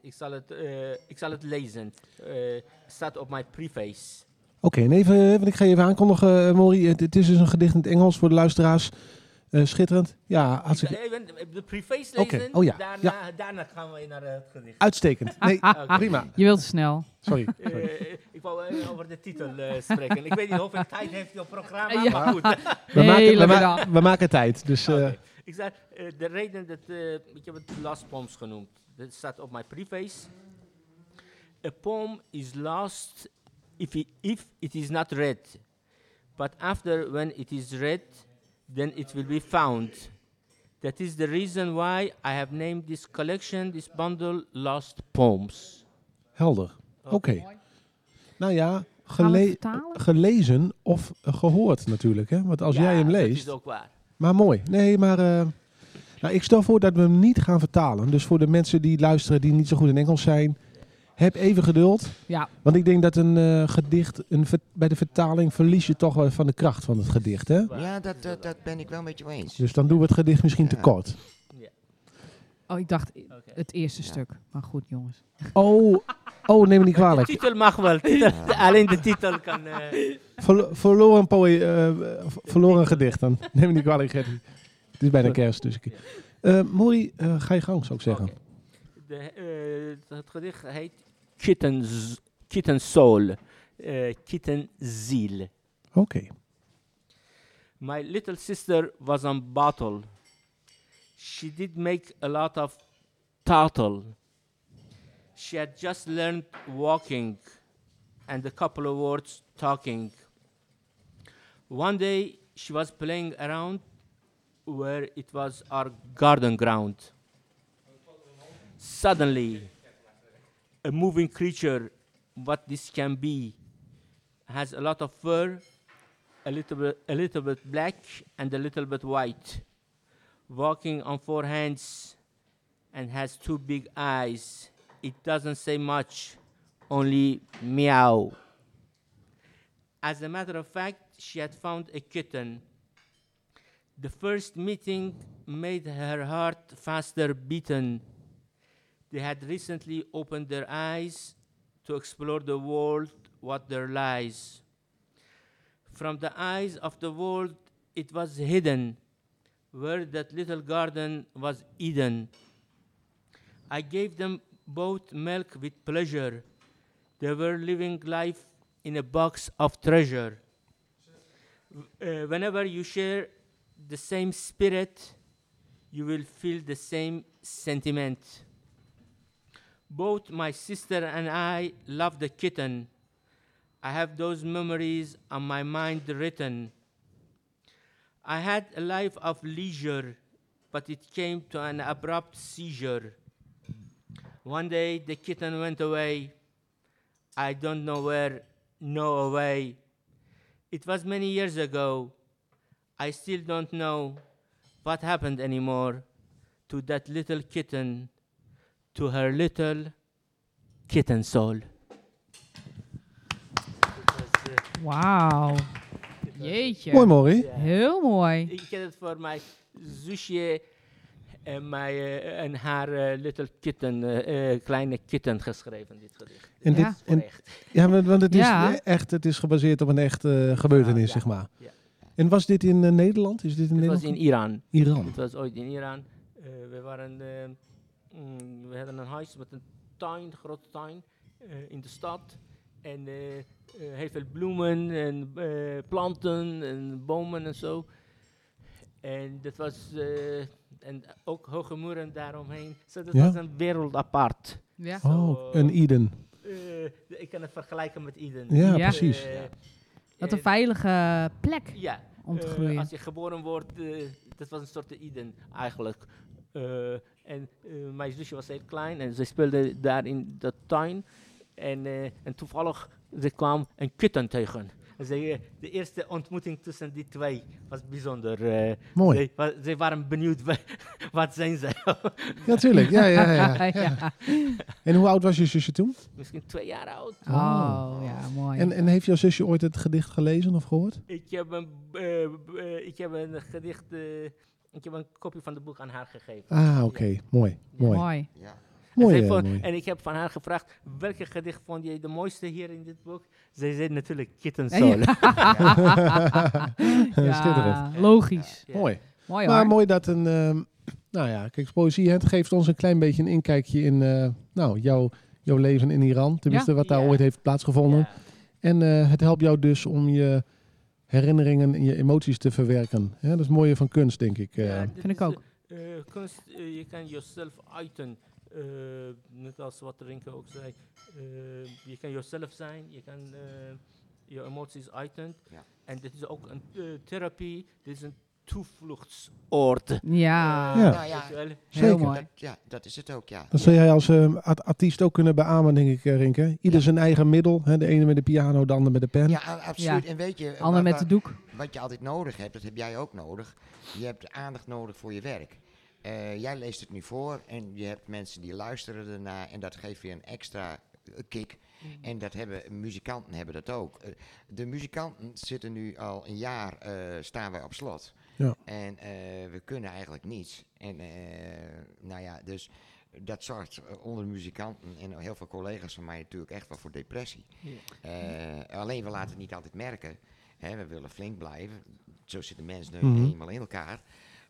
Speaker 6: ik, zal het, eh, ik zal het lezen, Eh, staat op mijn preface.
Speaker 1: Oké, en even, eh, want ik ga je even aankondigen, eh, Mori. Het, het is dus een gedicht in het Engels voor de luisteraars. Eh, schitterend. Ja, hartstikke...
Speaker 6: Even eh, de preface
Speaker 1: Oké,
Speaker 6: lezen,
Speaker 1: oh ja,
Speaker 6: daarna, Ah, daarna gaan we naar eh, het gedicht.
Speaker 1: Uitstekend.
Speaker 2: Ah.
Speaker 1: Nee, eh,
Speaker 6: Oké.
Speaker 1: prima.
Speaker 2: Je wilt te snel.
Speaker 1: Sorry.
Speaker 6: Eh,
Speaker 1: sorry.
Speaker 6: ik wou eh, over de titel eh, spreken. Ik weet niet hoeveel tijd heeft jouw programma,
Speaker 2: Ja.
Speaker 6: maar goed.
Speaker 1: We, maken, we,
Speaker 2: Hele
Speaker 1: ma-
Speaker 2: dag.
Speaker 1: we maken tijd, dus... eh,
Speaker 6: Oké. Ik zei, eh, de reden dat eh, ik heb het last poems genoemd. Dat staat op mijn preface. A poem is lost if it, if it is not read. But after when it is read, then it will be found. That is the reason why I have named this collection, this bundle, Lost Poems.
Speaker 1: Helder. Oké. Nou ja,
Speaker 2: Gaan we het
Speaker 1: gele-
Speaker 2: vertalen?
Speaker 1: gelezen of eh, gehoord natuurlijk. Hè? Want als
Speaker 6: Ja,
Speaker 1: jij hem
Speaker 6: Dat
Speaker 1: leest.
Speaker 6: is ook waar.
Speaker 1: Maar mooi. Nee, maar. eh, nou, ik stel voor dat we hem niet gaan vertalen. Dus voor de mensen die luisteren die niet zo goed in Engels zijn. Heb even geduld.
Speaker 2: Ja.
Speaker 1: Want ik denk dat een eh, gedicht. Een ver- bij de vertaling verlies je toch wel van de kracht van het gedicht. Hè?
Speaker 3: Ja, dat, dat, dat ben ik wel met je eens.
Speaker 1: Dus dan doen we het gedicht misschien te
Speaker 3: Ja.
Speaker 1: kort.
Speaker 2: Oh, ik dacht i-
Speaker 6: Oké.
Speaker 2: het eerste
Speaker 3: Ja.
Speaker 2: stuk. Maar goed, jongens.
Speaker 1: Oh, oh neem me niet
Speaker 6: De
Speaker 1: kwalijk.
Speaker 6: titel mag wel. Titel, [LAUGHS] alleen de titel kan. eh,
Speaker 1: Verlo- verloren, poë- eh, v- verloren gedicht dan. [LAUGHS] Neem me niet kwalijk, Gertie. Het is bijna kerst, dus ik... Eh, Mori, eh, ga je gang, zou ik zeggen.
Speaker 6: Oké. De, eh, het gedicht heet Kitten, Z- Kitten Soul, eh, Kitten Ziel.
Speaker 1: Oké.
Speaker 6: My little sister was on bottle. She did make a lot of tattle. She had just learned walking and a couple of words talking. One day she was playing around where it was our garden ground. Suddenly, a moving creature, what this can be, has a lot of fur a little bit, a little bit black and a little bit white, walking on four hands and has two big eyes. It doesn't say much, only meow. As a matter of fact, she had found a kitten. The first meeting made her heart faster beaten. They had recently opened their eyes to explore the world, what there lies from the eyes of the world it was hidden where that little garden was eden i gave them both milk with pleasure they were living life in a box of treasure Uh, whenever you share the same spirit you will feel the same sentiment both my sister and i love the kitten I have those memories on my mind written. I had a life of leisure, but it came to an abrupt seizure. One day the kitten went away. I don't know where, no away. It was many years ago. I still don't know what happened anymore to that little kitten, to her little kitten soul.
Speaker 2: Wauw. Jeetje.
Speaker 1: Mooi, Mori.
Speaker 2: Heel mooi.
Speaker 6: Ik ken het voor mijn zusje en, mijn, eh, en haar eh, little kitten, eh, eh, kleine kitten geschreven, dit gedicht.
Speaker 1: En
Speaker 2: Ja.
Speaker 1: dit, en,
Speaker 6: Echt.
Speaker 1: ja, want want het is
Speaker 2: Ja.
Speaker 1: eh, echt het is gebaseerd op een echt eh, gebeurtenis,
Speaker 6: Ja,
Speaker 1: zeg maar.
Speaker 6: ja.
Speaker 1: En was dit in eh, Nederland? Is dit in
Speaker 6: Het was
Speaker 1: Nederland?
Speaker 6: in Iran.
Speaker 1: Iran.
Speaker 6: Het was ooit in Iran. Eh, we waren, eh, mm, we hadden een huis met een tuin, een grote tuin, eh, in de stad. En eh, eh, heel veel bloemen en eh, planten en bomen en zo. En dat was eh, En ook hoge muren daaromheen. Zo, dat
Speaker 1: Ja?
Speaker 6: was een wereld apart.
Speaker 2: Ja.
Speaker 6: Zo,
Speaker 1: Oh, een Eden.
Speaker 6: eh, ik kan het vergelijken met Eden.
Speaker 1: Ja,
Speaker 2: Ja.
Speaker 1: precies.
Speaker 6: Eh,
Speaker 2: Dat een
Speaker 6: eh,
Speaker 2: veilige plek
Speaker 6: Ja,
Speaker 2: om te
Speaker 6: eh,
Speaker 2: groeien.
Speaker 6: als je geboren wordt, eh, dat was een soort Eden eigenlijk. Eh, en eh, mijn zusje was heel klein en ze speelde daar in de tuin. En, eh, en toevallig ze kwam een kitten tegen. En Ze, eh, de eerste ontmoeting tussen die twee was bijzonder. eh.
Speaker 1: Mooi.
Speaker 6: Ze, wa- ze waren benieuwd wa- [LAUGHS] wat zijn ze.
Speaker 1: Ja, natuurlijk. Ja,
Speaker 6: [LAUGHS]
Speaker 1: ja, ja, ja.
Speaker 2: Ja.
Speaker 1: En hoe oud was je zusje toen?
Speaker 6: Misschien twee jaar oud.
Speaker 2: Oh, ja, mooi.
Speaker 1: En, en heeft jouw zusje ooit het gedicht gelezen of gehoord?
Speaker 6: Ik heb een, eh, b- eh, ik heb een gedicht, eh, ik heb een kopie van het boek aan haar gegeven.
Speaker 1: Ah, oké. Mooi. Mooi. Mooi.
Speaker 2: mooi.
Speaker 3: Ja.
Speaker 6: En,
Speaker 1: Mooi,
Speaker 6: zij
Speaker 1: eh,
Speaker 6: vond-
Speaker 1: mooi.
Speaker 6: en ik heb van haar gevraagd, welke gedicht vond je de mooiste hier in dit boek? Zij zei natuurlijk Kittensoul.
Speaker 2: Ja.
Speaker 1: [LAUGHS]
Speaker 6: [LAUGHS]
Speaker 1: Schitterend.
Speaker 2: logisch.
Speaker 6: Ja.
Speaker 1: Mooi.
Speaker 2: Mooi hoor.
Speaker 1: Maar mooi dat een... ehm, nou ja, kijk, poëzie het geeft ons een klein beetje een inkijkje in eh, nou, jouw, jouw leven in Iran. Tenminste, wat daar
Speaker 6: Ja.
Speaker 1: ooit heeft plaatsgevonden.
Speaker 6: Ja.
Speaker 1: En eh, het helpt jou dus om je herinneringen en je emoties te verwerken. Hè, dat is het mooie van kunst, denk ik. eh.
Speaker 6: Ja, dit
Speaker 2: Vind ik
Speaker 6: is,
Speaker 2: ook.
Speaker 6: eh, eh, kunst, eh, je kan jezelf uiten. eh, net als wat Rinke ook zei. eh, je kan jezelf zijn, je kan eh, je emoties uiten.
Speaker 3: Ja.
Speaker 6: En dit is ook een eh, therapie, dit is een toevluchtsoord. Eh,
Speaker 2: Ja,
Speaker 1: Ja.
Speaker 3: Nou ja,
Speaker 6: Weet je wel?
Speaker 2: heel
Speaker 1: zeker.
Speaker 2: mooi.
Speaker 3: ja, dat is het ook, ja.
Speaker 1: Dat zou jij als eh, art- artiest ook kunnen beamen, denk ik, eh, Rinke. Ieder zijn eigen middel. Hè? De ene met de piano, de ander met de pen.
Speaker 3: Ja, a- absoluut. En weet je,
Speaker 2: Ander
Speaker 3: wa-
Speaker 2: met
Speaker 3: wa-
Speaker 2: de doek.
Speaker 3: wat je altijd nodig hebt, dat heb jij ook nodig. Je hebt aandacht nodig voor je werk. Eh, jij leest het nu voor en je hebt mensen die luisteren ernaar en dat geeft weer een extra eh, kick.
Speaker 2: Mm.
Speaker 3: En dat hebben muzikanten hebben dat ook. Eh, de muzikanten zitten nu al een jaar eh, staan wij op slot.
Speaker 1: Ja.
Speaker 3: En eh, we kunnen eigenlijk niets. En eh, nou ja, dus dat zorgt eh, onder de muzikanten en heel veel collega's van mij natuurlijk echt wel voor depressie.
Speaker 6: Ja.
Speaker 3: Eh, alleen we laten het niet altijd merken. Hè, we willen flink blijven. Zo zitten mensen nu
Speaker 1: Mhm.
Speaker 3: eenmaal in elkaar.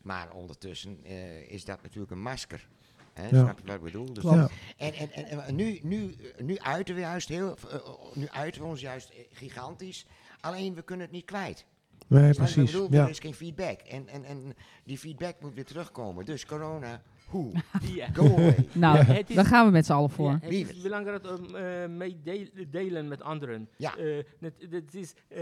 Speaker 3: Maar ondertussen eh, is dat natuurlijk een masker. Hè,
Speaker 1: Ja.
Speaker 3: Snap je wat ik bedoel? Dus
Speaker 1: Ja.
Speaker 3: en, en, en, en nu, nu, nu uiten we juist heel, eh, nu uiten we ons juist eh, gigantisch. Alleen we kunnen het niet kwijt.
Speaker 1: Nee,
Speaker 3: Snap je wat ik
Speaker 1: precies.
Speaker 3: bedoel?
Speaker 1: Ja.
Speaker 3: Er is geen feedback. En, en, en die feedback moet weer terugkomen. Dus corona,
Speaker 1: [LAUGHS]
Speaker 3: hoe?
Speaker 6: Ja.
Speaker 3: Go away.
Speaker 6: Ja,
Speaker 2: [LAUGHS] Nou,
Speaker 6: het is-
Speaker 2: daar gaan we met z'n allen voor.
Speaker 6: Ja,
Speaker 3: Wie
Speaker 6: het is
Speaker 3: weet.
Speaker 6: belangrijk om eh mee deel- delen met anderen.
Speaker 3: Ja.
Speaker 6: Eh, net- dat is, eh,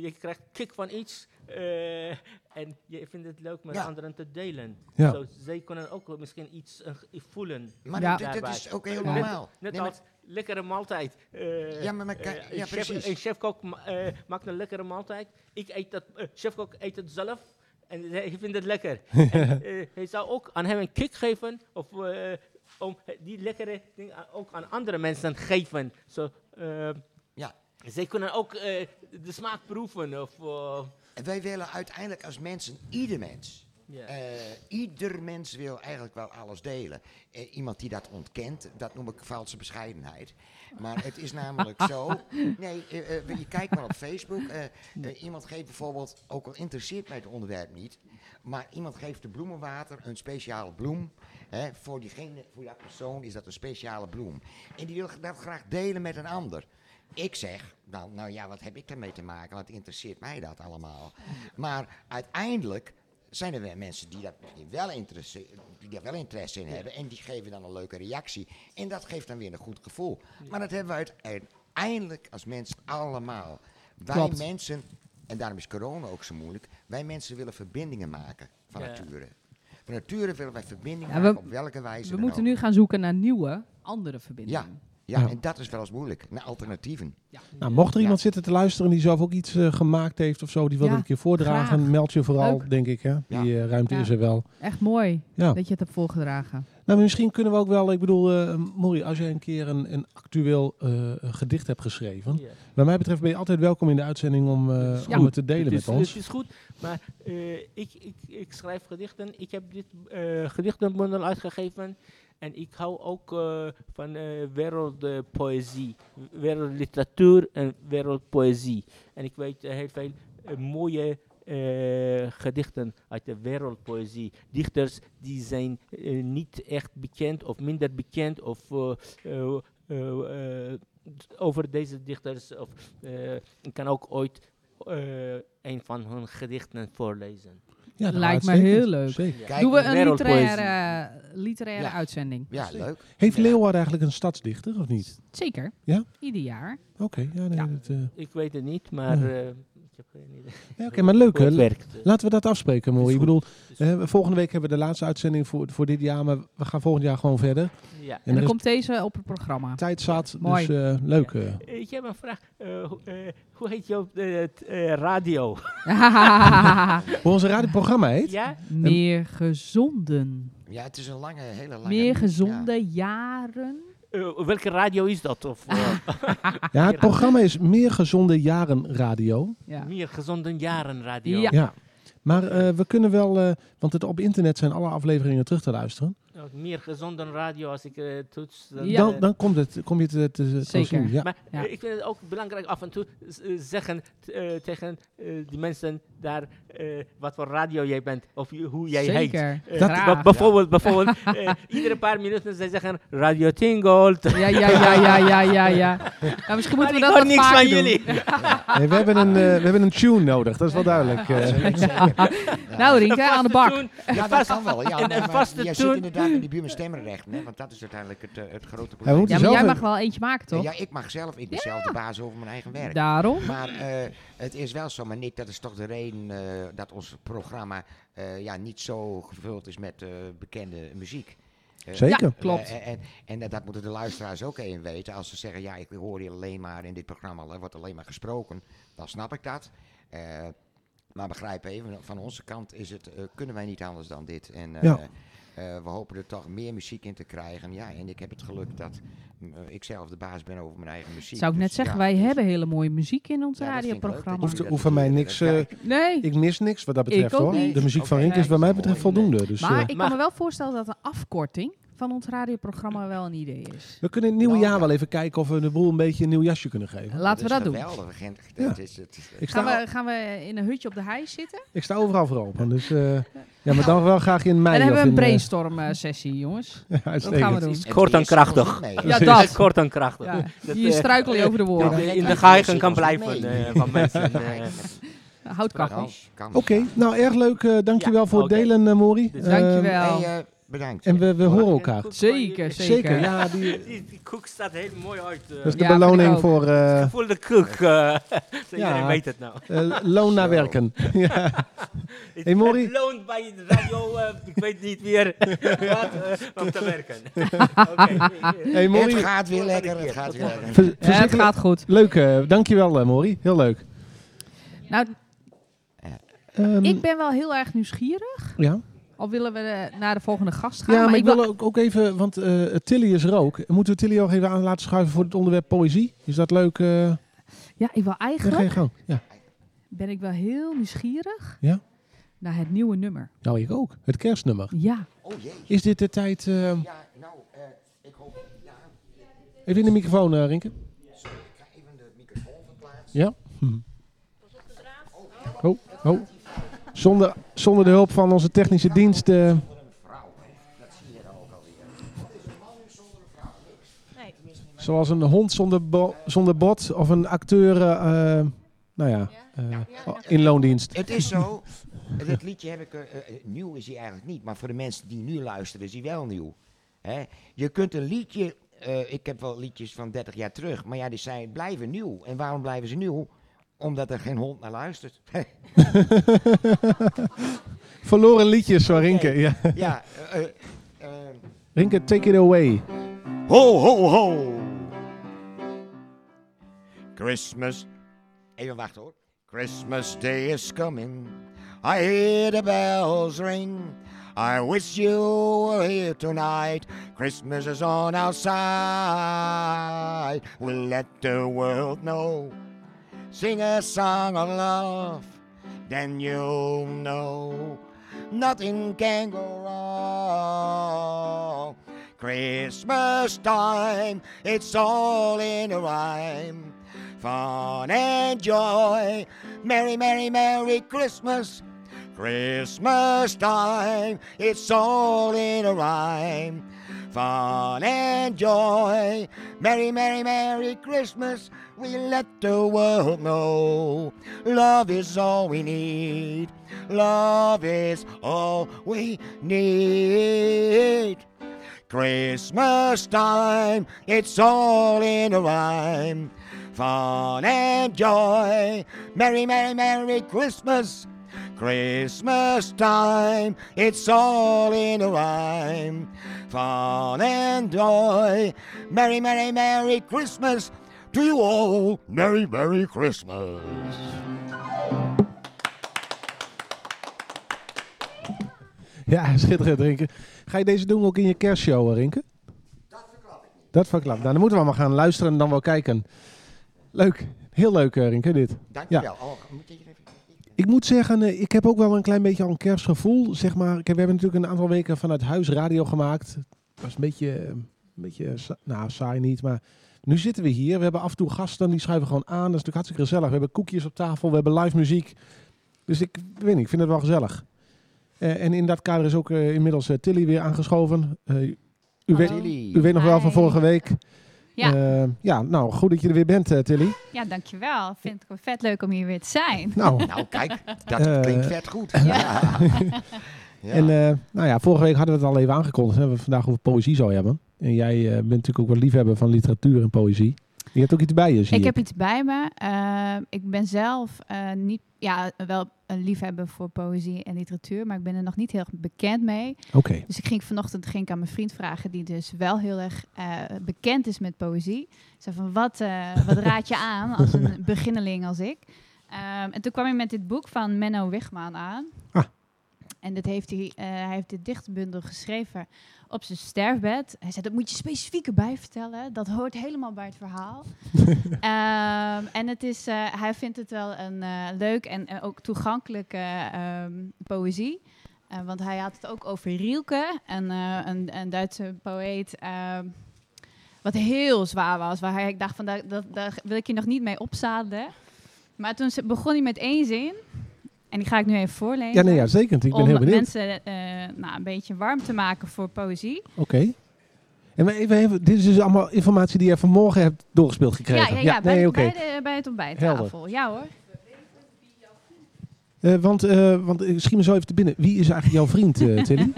Speaker 6: je krijgt kick van iets eh, en je vindt het leuk met
Speaker 3: Ja.
Speaker 6: anderen te delen.
Speaker 1: Ja.
Speaker 6: Zo, zij kunnen ook wel misschien iets eh, voelen.
Speaker 3: Maar
Speaker 2: Ja.
Speaker 3: dat, dat
Speaker 6: daarbij.
Speaker 3: is ook heel
Speaker 6: Ja.
Speaker 3: normaal.
Speaker 6: Net
Speaker 3: Nee, maar-
Speaker 6: als lekkere maaltijd. eh,
Speaker 3: Ja, maar men kan-
Speaker 6: eh,
Speaker 3: ja,
Speaker 6: een chef-
Speaker 3: precies.
Speaker 6: Een chefkok ma- eh, maakt een lekkere maaltijd. Ik eet dat, eh, chefkok eet het zelf. En hij vindt het
Speaker 3: [LAUGHS]
Speaker 6: lekker. en, eh, hij zou ook aan hem een kick geven. Of eh, om die lekkere ding a- ook aan andere mensen geven. Zo, eh,
Speaker 3: Ja.
Speaker 6: Zij kunnen ook eh, de smaak proeven. Of, eh,
Speaker 3: wij willen uiteindelijk als mensen, ieder mens,
Speaker 6: ja.
Speaker 3: Eh, ieder mens wil eigenlijk wel alles delen. Eh, iemand die dat ontkent, dat noem ik valse bescheidenheid. Maar het is namelijk zo. [LAUGHS] Nee, eh, eh, je kijkt maar op Facebook. eh, eh, iemand geeft bijvoorbeeld, ook al interesseert mij het onderwerp niet, maar iemand geeft de bloemenwater een speciale bloem. Hè, voor, diegene, voor dat persoon is dat een speciale bloem. En die wil dat graag delen met een ander. Ik zeg, nou, nou ja, wat heb ik daarmee te maken? Wat interesseert mij dat allemaal? Maar uiteindelijk zijn er weer mensen die, dat misschien wel interesse, die daar wel interesse in hebben. En die geven dan een leuke reactie. En dat geeft dan weer een goed gevoel. Maar dat hebben we uit- uiteindelijk als mensen allemaal. Wij
Speaker 1: Klopt.
Speaker 3: mensen, en daarom is corona ook zo moeilijk. Wij mensen willen verbindingen maken van
Speaker 6: Ja.
Speaker 3: nature. Van nature willen wij verbindingen
Speaker 2: Ja, we-
Speaker 3: maken op welke wijze
Speaker 2: We
Speaker 3: dan
Speaker 2: moeten
Speaker 3: ook.
Speaker 2: nu gaan zoeken naar nieuwe, andere verbindingen.
Speaker 3: Ja,
Speaker 1: Ja.
Speaker 3: en dat is wel eens moeilijk. Naar alternatieven.
Speaker 1: Nou, mocht er
Speaker 3: Ja.
Speaker 1: iemand zitten te luisteren die zelf ook iets eh, gemaakt heeft of zo, die wil
Speaker 2: Ja,
Speaker 1: het een keer voordragen,
Speaker 2: graag.
Speaker 1: meld je vooral,
Speaker 2: Leuk.
Speaker 1: denk ik. Hè? Die eh, ruimte
Speaker 2: Ja.
Speaker 1: is er wel.
Speaker 2: Echt mooi
Speaker 1: Ja.
Speaker 2: dat je het hebt voorgedragen.
Speaker 1: Nou, misschien kunnen we ook wel, ik bedoel, eh Mori, als jij een keer een, een actueel eh, gedicht hebt geschreven,
Speaker 6: Ja.
Speaker 1: wat mij betreft ben je altijd welkom in de uitzending om, eh,
Speaker 6: Het is
Speaker 1: om
Speaker 6: goed.
Speaker 1: het te delen
Speaker 6: het
Speaker 1: met
Speaker 6: is, dus-
Speaker 1: ons.
Speaker 6: Het is goed, maar eh, ik, ik, ik schrijf gedichten. Ik heb dit eh gedichtenbundel uitgegeven. En ik hou ook eh, van eh, wereldpoëzie, wereldliteratuur en wereldpoëzie. En ik weet eh, heel veel eh, mooie eh, gedichten uit de wereldpoëzie. Dichters die zijn eh, niet echt bekend of minder bekend of eh, eh, eh, eh, over deze dichters. Of, eh, ik kan ook ooit eh, een van hun gedichten voorlezen.
Speaker 1: Ja, nou,
Speaker 2: Lijkt me
Speaker 1: uitstekend.
Speaker 2: heel leuk.
Speaker 1: Zeker.
Speaker 3: Kijk,
Speaker 2: Doen we een
Speaker 6: wereldpoëzie.
Speaker 2: literaire, literaire
Speaker 3: Ja.
Speaker 2: uitzending.
Speaker 3: Ja, leuk.
Speaker 1: Heeft
Speaker 3: Ja.
Speaker 1: Leeuwarden eigenlijk een stadsdichter of niet?
Speaker 2: Zeker.
Speaker 1: Ja?
Speaker 2: Ieder jaar.
Speaker 1: Oké, ja, nee,
Speaker 2: Ja.
Speaker 1: dat, eh, nee,
Speaker 6: Ik weet het niet, maar
Speaker 1: Ja.
Speaker 6: eh, ik heb geen idee.
Speaker 1: oké, maar leuk.
Speaker 6: hoe het
Speaker 1: hè?
Speaker 6: werkt. eh.
Speaker 1: Laten we dat afspreken,
Speaker 6: Is
Speaker 1: mooi. Ik
Speaker 6: goed.
Speaker 1: bedoel,
Speaker 6: Is
Speaker 1: eh, volgende week hebben we de laatste uitzending voor, voor dit jaar, maar we gaan volgend jaar gewoon verder. En,
Speaker 6: Ja.
Speaker 2: En
Speaker 1: er
Speaker 2: dan
Speaker 1: is
Speaker 2: komt deze op het programma.
Speaker 1: tijd zat,
Speaker 2: Mooi.
Speaker 1: dus eh, leuk. eh.
Speaker 6: Ik heb een vraag. Eh, hoe- eh, hoe heet jouw eh, t- eh,
Speaker 2: [LAUGHS]
Speaker 6: radio?
Speaker 1: Hoe eh. onze radioprogramma heet?
Speaker 6: Ja?
Speaker 2: Meer gezonden.
Speaker 3: Ja, het is een lange, hele lange...
Speaker 2: Meer
Speaker 3: ja.
Speaker 2: gezonde jaren.
Speaker 6: Eh, welke radio is dat? Of eh,
Speaker 1: Ja, het programma is Meer Gezonde Jaren Radio.
Speaker 2: [LAUGHS] Ja.
Speaker 6: meer gezonde jaren radio?
Speaker 2: Ja.
Speaker 1: Ja. Maar eh, we kunnen wel, eh, want het, op internet zijn alle afleveringen terug te luisteren.
Speaker 6: Ook Oh, meer gezonde radio als ik eh, toets. Dan,
Speaker 2: Ja.
Speaker 1: Dan,
Speaker 6: eh,
Speaker 1: dan komt het, kom je te, te, te
Speaker 2: Zeker.
Speaker 1: zien. Ja.
Speaker 6: Maar
Speaker 2: Ja.
Speaker 6: eh, ik vind het ook belangrijk af en toe z- eh, zeggen t- eh, tegen eh, die mensen daar eh, wat voor radio jij bent of je- hoe jij heet.
Speaker 2: Zeker.
Speaker 6: Eh,
Speaker 2: Dat-
Speaker 6: b-
Speaker 2: Graag.
Speaker 6: bijvoorbeeld,
Speaker 2: [LAUGHS]
Speaker 6: bijvoorbeeld eh, iedere paar minuten zij zeggen Radio Tingold.
Speaker 2: Ja, ja, ja, ja, ja, ja. ja. Nou, misschien
Speaker 6: Maar ik
Speaker 2: moeten we dat
Speaker 6: hoor
Speaker 2: wat
Speaker 6: niks
Speaker 2: vaker
Speaker 6: van
Speaker 2: doen.
Speaker 6: jullie.
Speaker 1: Nee, we, hebben een, eh, we hebben een tune nodig, dat is wel duidelijk. eh.
Speaker 2: [LAUGHS] Nou,
Speaker 6: Een
Speaker 2: Rinke, aan de
Speaker 6: vaste
Speaker 2: bak.
Speaker 6: toon.
Speaker 3: Ja, dat kan wel. Ja,
Speaker 6: En-
Speaker 3: maar-
Speaker 6: en
Speaker 3: maar
Speaker 6: vaste
Speaker 3: jij
Speaker 6: toen-
Speaker 3: zit inderdaad in die buurt met stemrechten, hè, want dat is uiteindelijk het, eh, het grote
Speaker 1: Ja, we
Speaker 3: probleem.
Speaker 1: moeten
Speaker 2: Ja, maar jij
Speaker 1: zelf
Speaker 2: mag wel eentje maken, toch?
Speaker 3: Ja, ik mag zelf, ik ben zelf de baas over mijn eigen werk.
Speaker 2: Daarom.
Speaker 3: Maar eh, het is wel zo, maar Nick, dat is toch de reden eh, dat ons programma eh, ja, niet zo gevuld is met eh, bekende muziek. Eh,
Speaker 1: Zeker. Ja,
Speaker 2: klopt.
Speaker 3: eh, en en, dat- dat moeten de luisteraars ook even weten. Als ze zeggen, ja, ik hoor hier alleen maar in dit programma, er wordt alleen maar gesproken, dan snap ik dat. Eh, maar begrijp even, van onze kant is het, eh, kunnen wij niet anders dan dit. En eh,
Speaker 1: Ja.
Speaker 3: eh, we hopen er toch meer muziek in te krijgen. Ja, en ik heb het geluk dat mm, eh, ik zelf de baas ben over mijn eigen muziek.
Speaker 2: Zou ik net
Speaker 3: Dus
Speaker 2: zeggen,
Speaker 3: ja,
Speaker 2: wij
Speaker 3: dus-
Speaker 2: hebben hele mooie muziek in ons
Speaker 3: Ja, dat vind ik leuk.
Speaker 2: radioprogramma.
Speaker 3: Dat
Speaker 1: Hoeft,
Speaker 3: je
Speaker 1: hoeft van mij niks. eh,
Speaker 2: Nee.
Speaker 1: ik mis niks wat dat betreft
Speaker 2: ook
Speaker 1: hoor.
Speaker 2: niet.
Speaker 1: De muziek van
Speaker 3: Oké.
Speaker 1: Rink is wat mij betreft
Speaker 3: Nee.
Speaker 1: voldoende. Dus, eh,
Speaker 2: Maar ik kan
Speaker 6: Maar-
Speaker 2: me wel voorstellen dat een afkorting van ons radioprogramma wel een idee is.
Speaker 1: we kunnen in het nieuwe
Speaker 3: Nou,
Speaker 1: jaar
Speaker 3: ja.
Speaker 1: wel even kijken of we de boel een beetje een nieuw jasje kunnen geven.
Speaker 2: Laten we dat doen.
Speaker 3: is geweldig. Gent. Dat is het. is-
Speaker 1: Ik
Speaker 2: Gaan
Speaker 1: sta,
Speaker 2: we, gaan we in een hutje op de hei zitten?
Speaker 1: ik sta overal voor open.
Speaker 2: [LAUGHS]
Speaker 1: Dus, eh, ja, maar dan wel graag in mei.
Speaker 2: en dan hebben
Speaker 1: of
Speaker 2: we een
Speaker 1: in, eh,
Speaker 2: brainstorm-sessie,
Speaker 1: [LAUGHS]
Speaker 2: jongens.
Speaker 1: uitstekend.
Speaker 2: Dat gaan we doen.
Speaker 3: het
Speaker 6: Kort en
Speaker 3: is ons
Speaker 6: krachtig.
Speaker 3: niet mee.
Speaker 2: Ja,
Speaker 1: Precies.
Speaker 2: dat.
Speaker 6: Kort en krachtig.
Speaker 2: Ja.
Speaker 6: Dat,
Speaker 2: Hier
Speaker 6: eh,
Speaker 2: struikel je
Speaker 6: eh,
Speaker 2: over de
Speaker 6: dat,
Speaker 2: woorden.
Speaker 6: eh, in
Speaker 3: Ja,
Speaker 6: de geheigen
Speaker 3: dat
Speaker 6: kan
Speaker 3: is ons niet
Speaker 6: blijven
Speaker 3: mee.
Speaker 6: eh, van
Speaker 3: [LAUGHS]
Speaker 6: mensen.
Speaker 3: Nee,
Speaker 6: eh.
Speaker 2: Houtkachel.
Speaker 3: kan.
Speaker 1: Oké, nou erg leuk. eh, dankjewel
Speaker 6: Ja,
Speaker 1: voor
Speaker 6: oké.
Speaker 1: het delen, eh, Mori.
Speaker 6: Dus
Speaker 1: Eh,
Speaker 2: Dankjewel.
Speaker 3: Hey, eh, bedankt.
Speaker 1: En we, we horen elkaar.
Speaker 2: Zeker,
Speaker 1: Zeker,
Speaker 2: zeker.
Speaker 1: ja.
Speaker 3: [LAUGHS]
Speaker 1: Die,
Speaker 6: Die, die koek staat heel mooi uit. eh.
Speaker 1: dat is de
Speaker 2: Ja, vind ik
Speaker 1: beloning
Speaker 2: ook.
Speaker 1: voor eh,
Speaker 6: Voel [LAUGHS] de koek. eh. [LAUGHS] Iedereen weet het nou.
Speaker 1: eh, loon naar
Speaker 3: Zo. [LAUGHS]
Speaker 1: werken. ja.
Speaker 6: [LAUGHS] Het,
Speaker 1: Hey, Mori.
Speaker 6: het loont bij de radio, eh, ik weet niet meer [LAUGHS] wat eh, om te
Speaker 1: [LAUGHS]
Speaker 6: werken. Oké.
Speaker 1: Hey,
Speaker 3: het
Speaker 1: Mori,
Speaker 3: gaat weer lekker. Het gaat weer lekker.
Speaker 1: ver-
Speaker 2: Ja, het
Speaker 1: verschrikkelijk-
Speaker 2: gaat goed.
Speaker 1: Leuk, eh, dankjewel eh, Mori. Heel leuk.
Speaker 2: Nou,
Speaker 1: Ehm,
Speaker 2: ik ben wel heel erg nieuwsgierig.
Speaker 1: ja.
Speaker 2: Al willen we eh, naar de volgende gast gaan.
Speaker 1: ja, maar ik
Speaker 2: wil-
Speaker 1: wil ook, ook even, want eh, Tilly is er ook. Moeten we Tilly ook even aan laten schuiven voor het onderwerp poëzie? Is dat leuk? eh
Speaker 2: ja, ik wil
Speaker 1: ja,
Speaker 2: eigenlijk...
Speaker 1: geen gang. Ja.
Speaker 2: ben ik wel heel nieuwsgierig
Speaker 1: Ja?
Speaker 2: naar het nieuwe nummer.
Speaker 1: Nou, ik ook. Het kerstnummer.
Speaker 2: Ja,
Speaker 3: Oh jee.
Speaker 1: Is dit de tijd... eh,
Speaker 3: Ja, nou, eh, ik hoop... Ja,
Speaker 1: even in de microfoon, eh Rinke.
Speaker 3: sorry. Ik ga even de microfoon verplaatsen.
Speaker 1: Ja. Hm. [LAUGHS] Oh, oh. Zonder, zonder de hulp van onze technische dienst. eh,
Speaker 3: Vrouw, hè. dat zie je dan ook alweer. Wat is een man nu zonder een vrouw? Niks.
Speaker 4: Nee.
Speaker 3: Tenminste, in mijn-
Speaker 1: zoals een hond zonder, bo- zonder bot of een acteur. eh, eh, nou ja, eh, oh, in loondienst.
Speaker 3: Het is zo. Dat liedje heb ik. eh, eh, nieuw is hij eigenlijk niet, maar voor de mensen die nu luisteren, is hij wel nieuw. Hè? Je kunt een liedje. eh, ik heb wel liedjes van 30 jaar terug, maar ja, die zijn, blijven nieuw. En waarom blijven ze nieuw? Omdat er geen hond naar luistert. [LAUGHS]
Speaker 1: Verloren liedjes van Rinke. Ja.
Speaker 3: ja, eh, eh, eh,
Speaker 1: Rinke, take it away.
Speaker 3: Ho, ho, ho! Christmas. Even wachten hoor. Christmas Day is coming. I hear the bells ring. I wish you were here tonight. Christmas is on outside. We'll let the world know. Sing a song of love, then you'll know nothing can go wrong. Christmas time, it's all in a rhyme. Fun and joy, merry, merry, merry Christmas. Christmas time, it's all in a rhyme. fun and joy. Merry, merry, merry Christmas, we let the world know. Love is all we need. Love is all we need. Christmas time, it's all in a rhyme. Fun and joy, merry, merry, merry Christmas. Christmas time, it's all in a rhyme. Fun and joy, merry, merry, merry Christmas to you all. Merry, merry Christmas.
Speaker 1: Ja, [LAUGHS] schitterend, Rinke. Ga je deze doen ook in je kerstshow, eh, Rinke? Dat verklap ik. Nou, dan moeten we maar gaan luisteren en dan wel kijken. Leuk. Heel leuk, eh, Rinke, dit.
Speaker 3: Dankjewel. Oh, moet ik hier even...
Speaker 1: Ik moet zeggen, eh, ik heb ook wel een klein beetje al een kerstgevoel. Zeg maar, Kijk, we hebben natuurlijk een aantal weken vanuit huis radio gemaakt. Het was een beetje, eh, een beetje sa- nou, saai niet, maar nu zitten we hier. We hebben af en toe gasten, die schuiven gewoon aan. Dat is natuurlijk hartstikke gezellig. We hebben koekjes op tafel, we hebben live muziek. Dus ik weet niet, ik vind het wel gezellig. Eh, en in dat kader is ook eh, inmiddels eh, Tilly weer aangeschoven. Eh, u, weet,
Speaker 2: Hallo.
Speaker 1: u weet nog wel van
Speaker 7: Hi.
Speaker 1: vorige week.
Speaker 7: Ja.
Speaker 1: Eh, ja, nou, goed dat je er weer bent, eh, Tilly.
Speaker 7: Ja, dankjewel. Vind ik wel vet leuk om hier weer te zijn. [LAUGHS]
Speaker 1: Nou,
Speaker 3: Nou, kijk, dat
Speaker 1: Eh,
Speaker 3: klinkt vet
Speaker 1: [LAUGHS]
Speaker 3: goed. Ja.
Speaker 1: En eh, nou ja, vorige week hadden we het al even aangekondigd. Hè, we het vandaag over poëzie zou hebben. En jij eh, bent natuurlijk ook wel liefhebber van literatuur en poëzie. Je hebt ook iets bij je, zie
Speaker 7: Ik heb iets bij me. Eh, ik ben zelf eh, niet, ja, wel een liefhebber voor poëzie en literatuur, maar ik ben er nog niet heel erg bekend mee.
Speaker 1: Oké.
Speaker 7: Dus ik ging vanochtend ging ik aan mijn vriend vragen, die dus wel heel erg eh, bekend is met poëzie. Ik zei van, wat, eh, wat raad je aan als een [LAUGHS] beginneling als ik? Ehm, en toen kwam hij met dit boek van Menno Wigman aan.
Speaker 1: Ah.
Speaker 7: En dat heeft hij, eh, hij heeft dit dichtbundel geschreven op zijn sterfbed. Hij zei, dat moet je specifiek erbij vertellen. Dat hoort helemaal bij het verhaal. Ehm, en het is, eh, hij vindt het wel een eh, leuk en eh, ook toegankelijke ehm, poëzie. Eh, want hij had het ook over Rielke, een, eh, een, een Duitse poëet. ehm, wat heel zwaar was. Waar hij, ik dacht van, daar, dat, daar wil ik je nog niet mee opzadelen. Maar toen ze- begon hij met één zin. En die ga ik nu even voorlezen.
Speaker 1: Ja, nee, ja, zeker. Ik ben
Speaker 7: om
Speaker 1: heel benieuwd.
Speaker 7: mensen eh, nou, een beetje warm te maken voor poëzie.
Speaker 1: Oké. En maar even, even, dit is dus allemaal informatie die je vanmorgen hebt doorgespeeld gekregen.
Speaker 7: Ja, ja, ja, bij,
Speaker 1: nee,
Speaker 7: de-
Speaker 1: oké.
Speaker 7: bij, de- bij het ontbijttafel. Ja hoor.
Speaker 1: Eh, want, eh want eh, schiet me zo even te binnen. Wie is eigenlijk jouw vriend,
Speaker 7: [LAUGHS]
Speaker 1: eh, Tilly?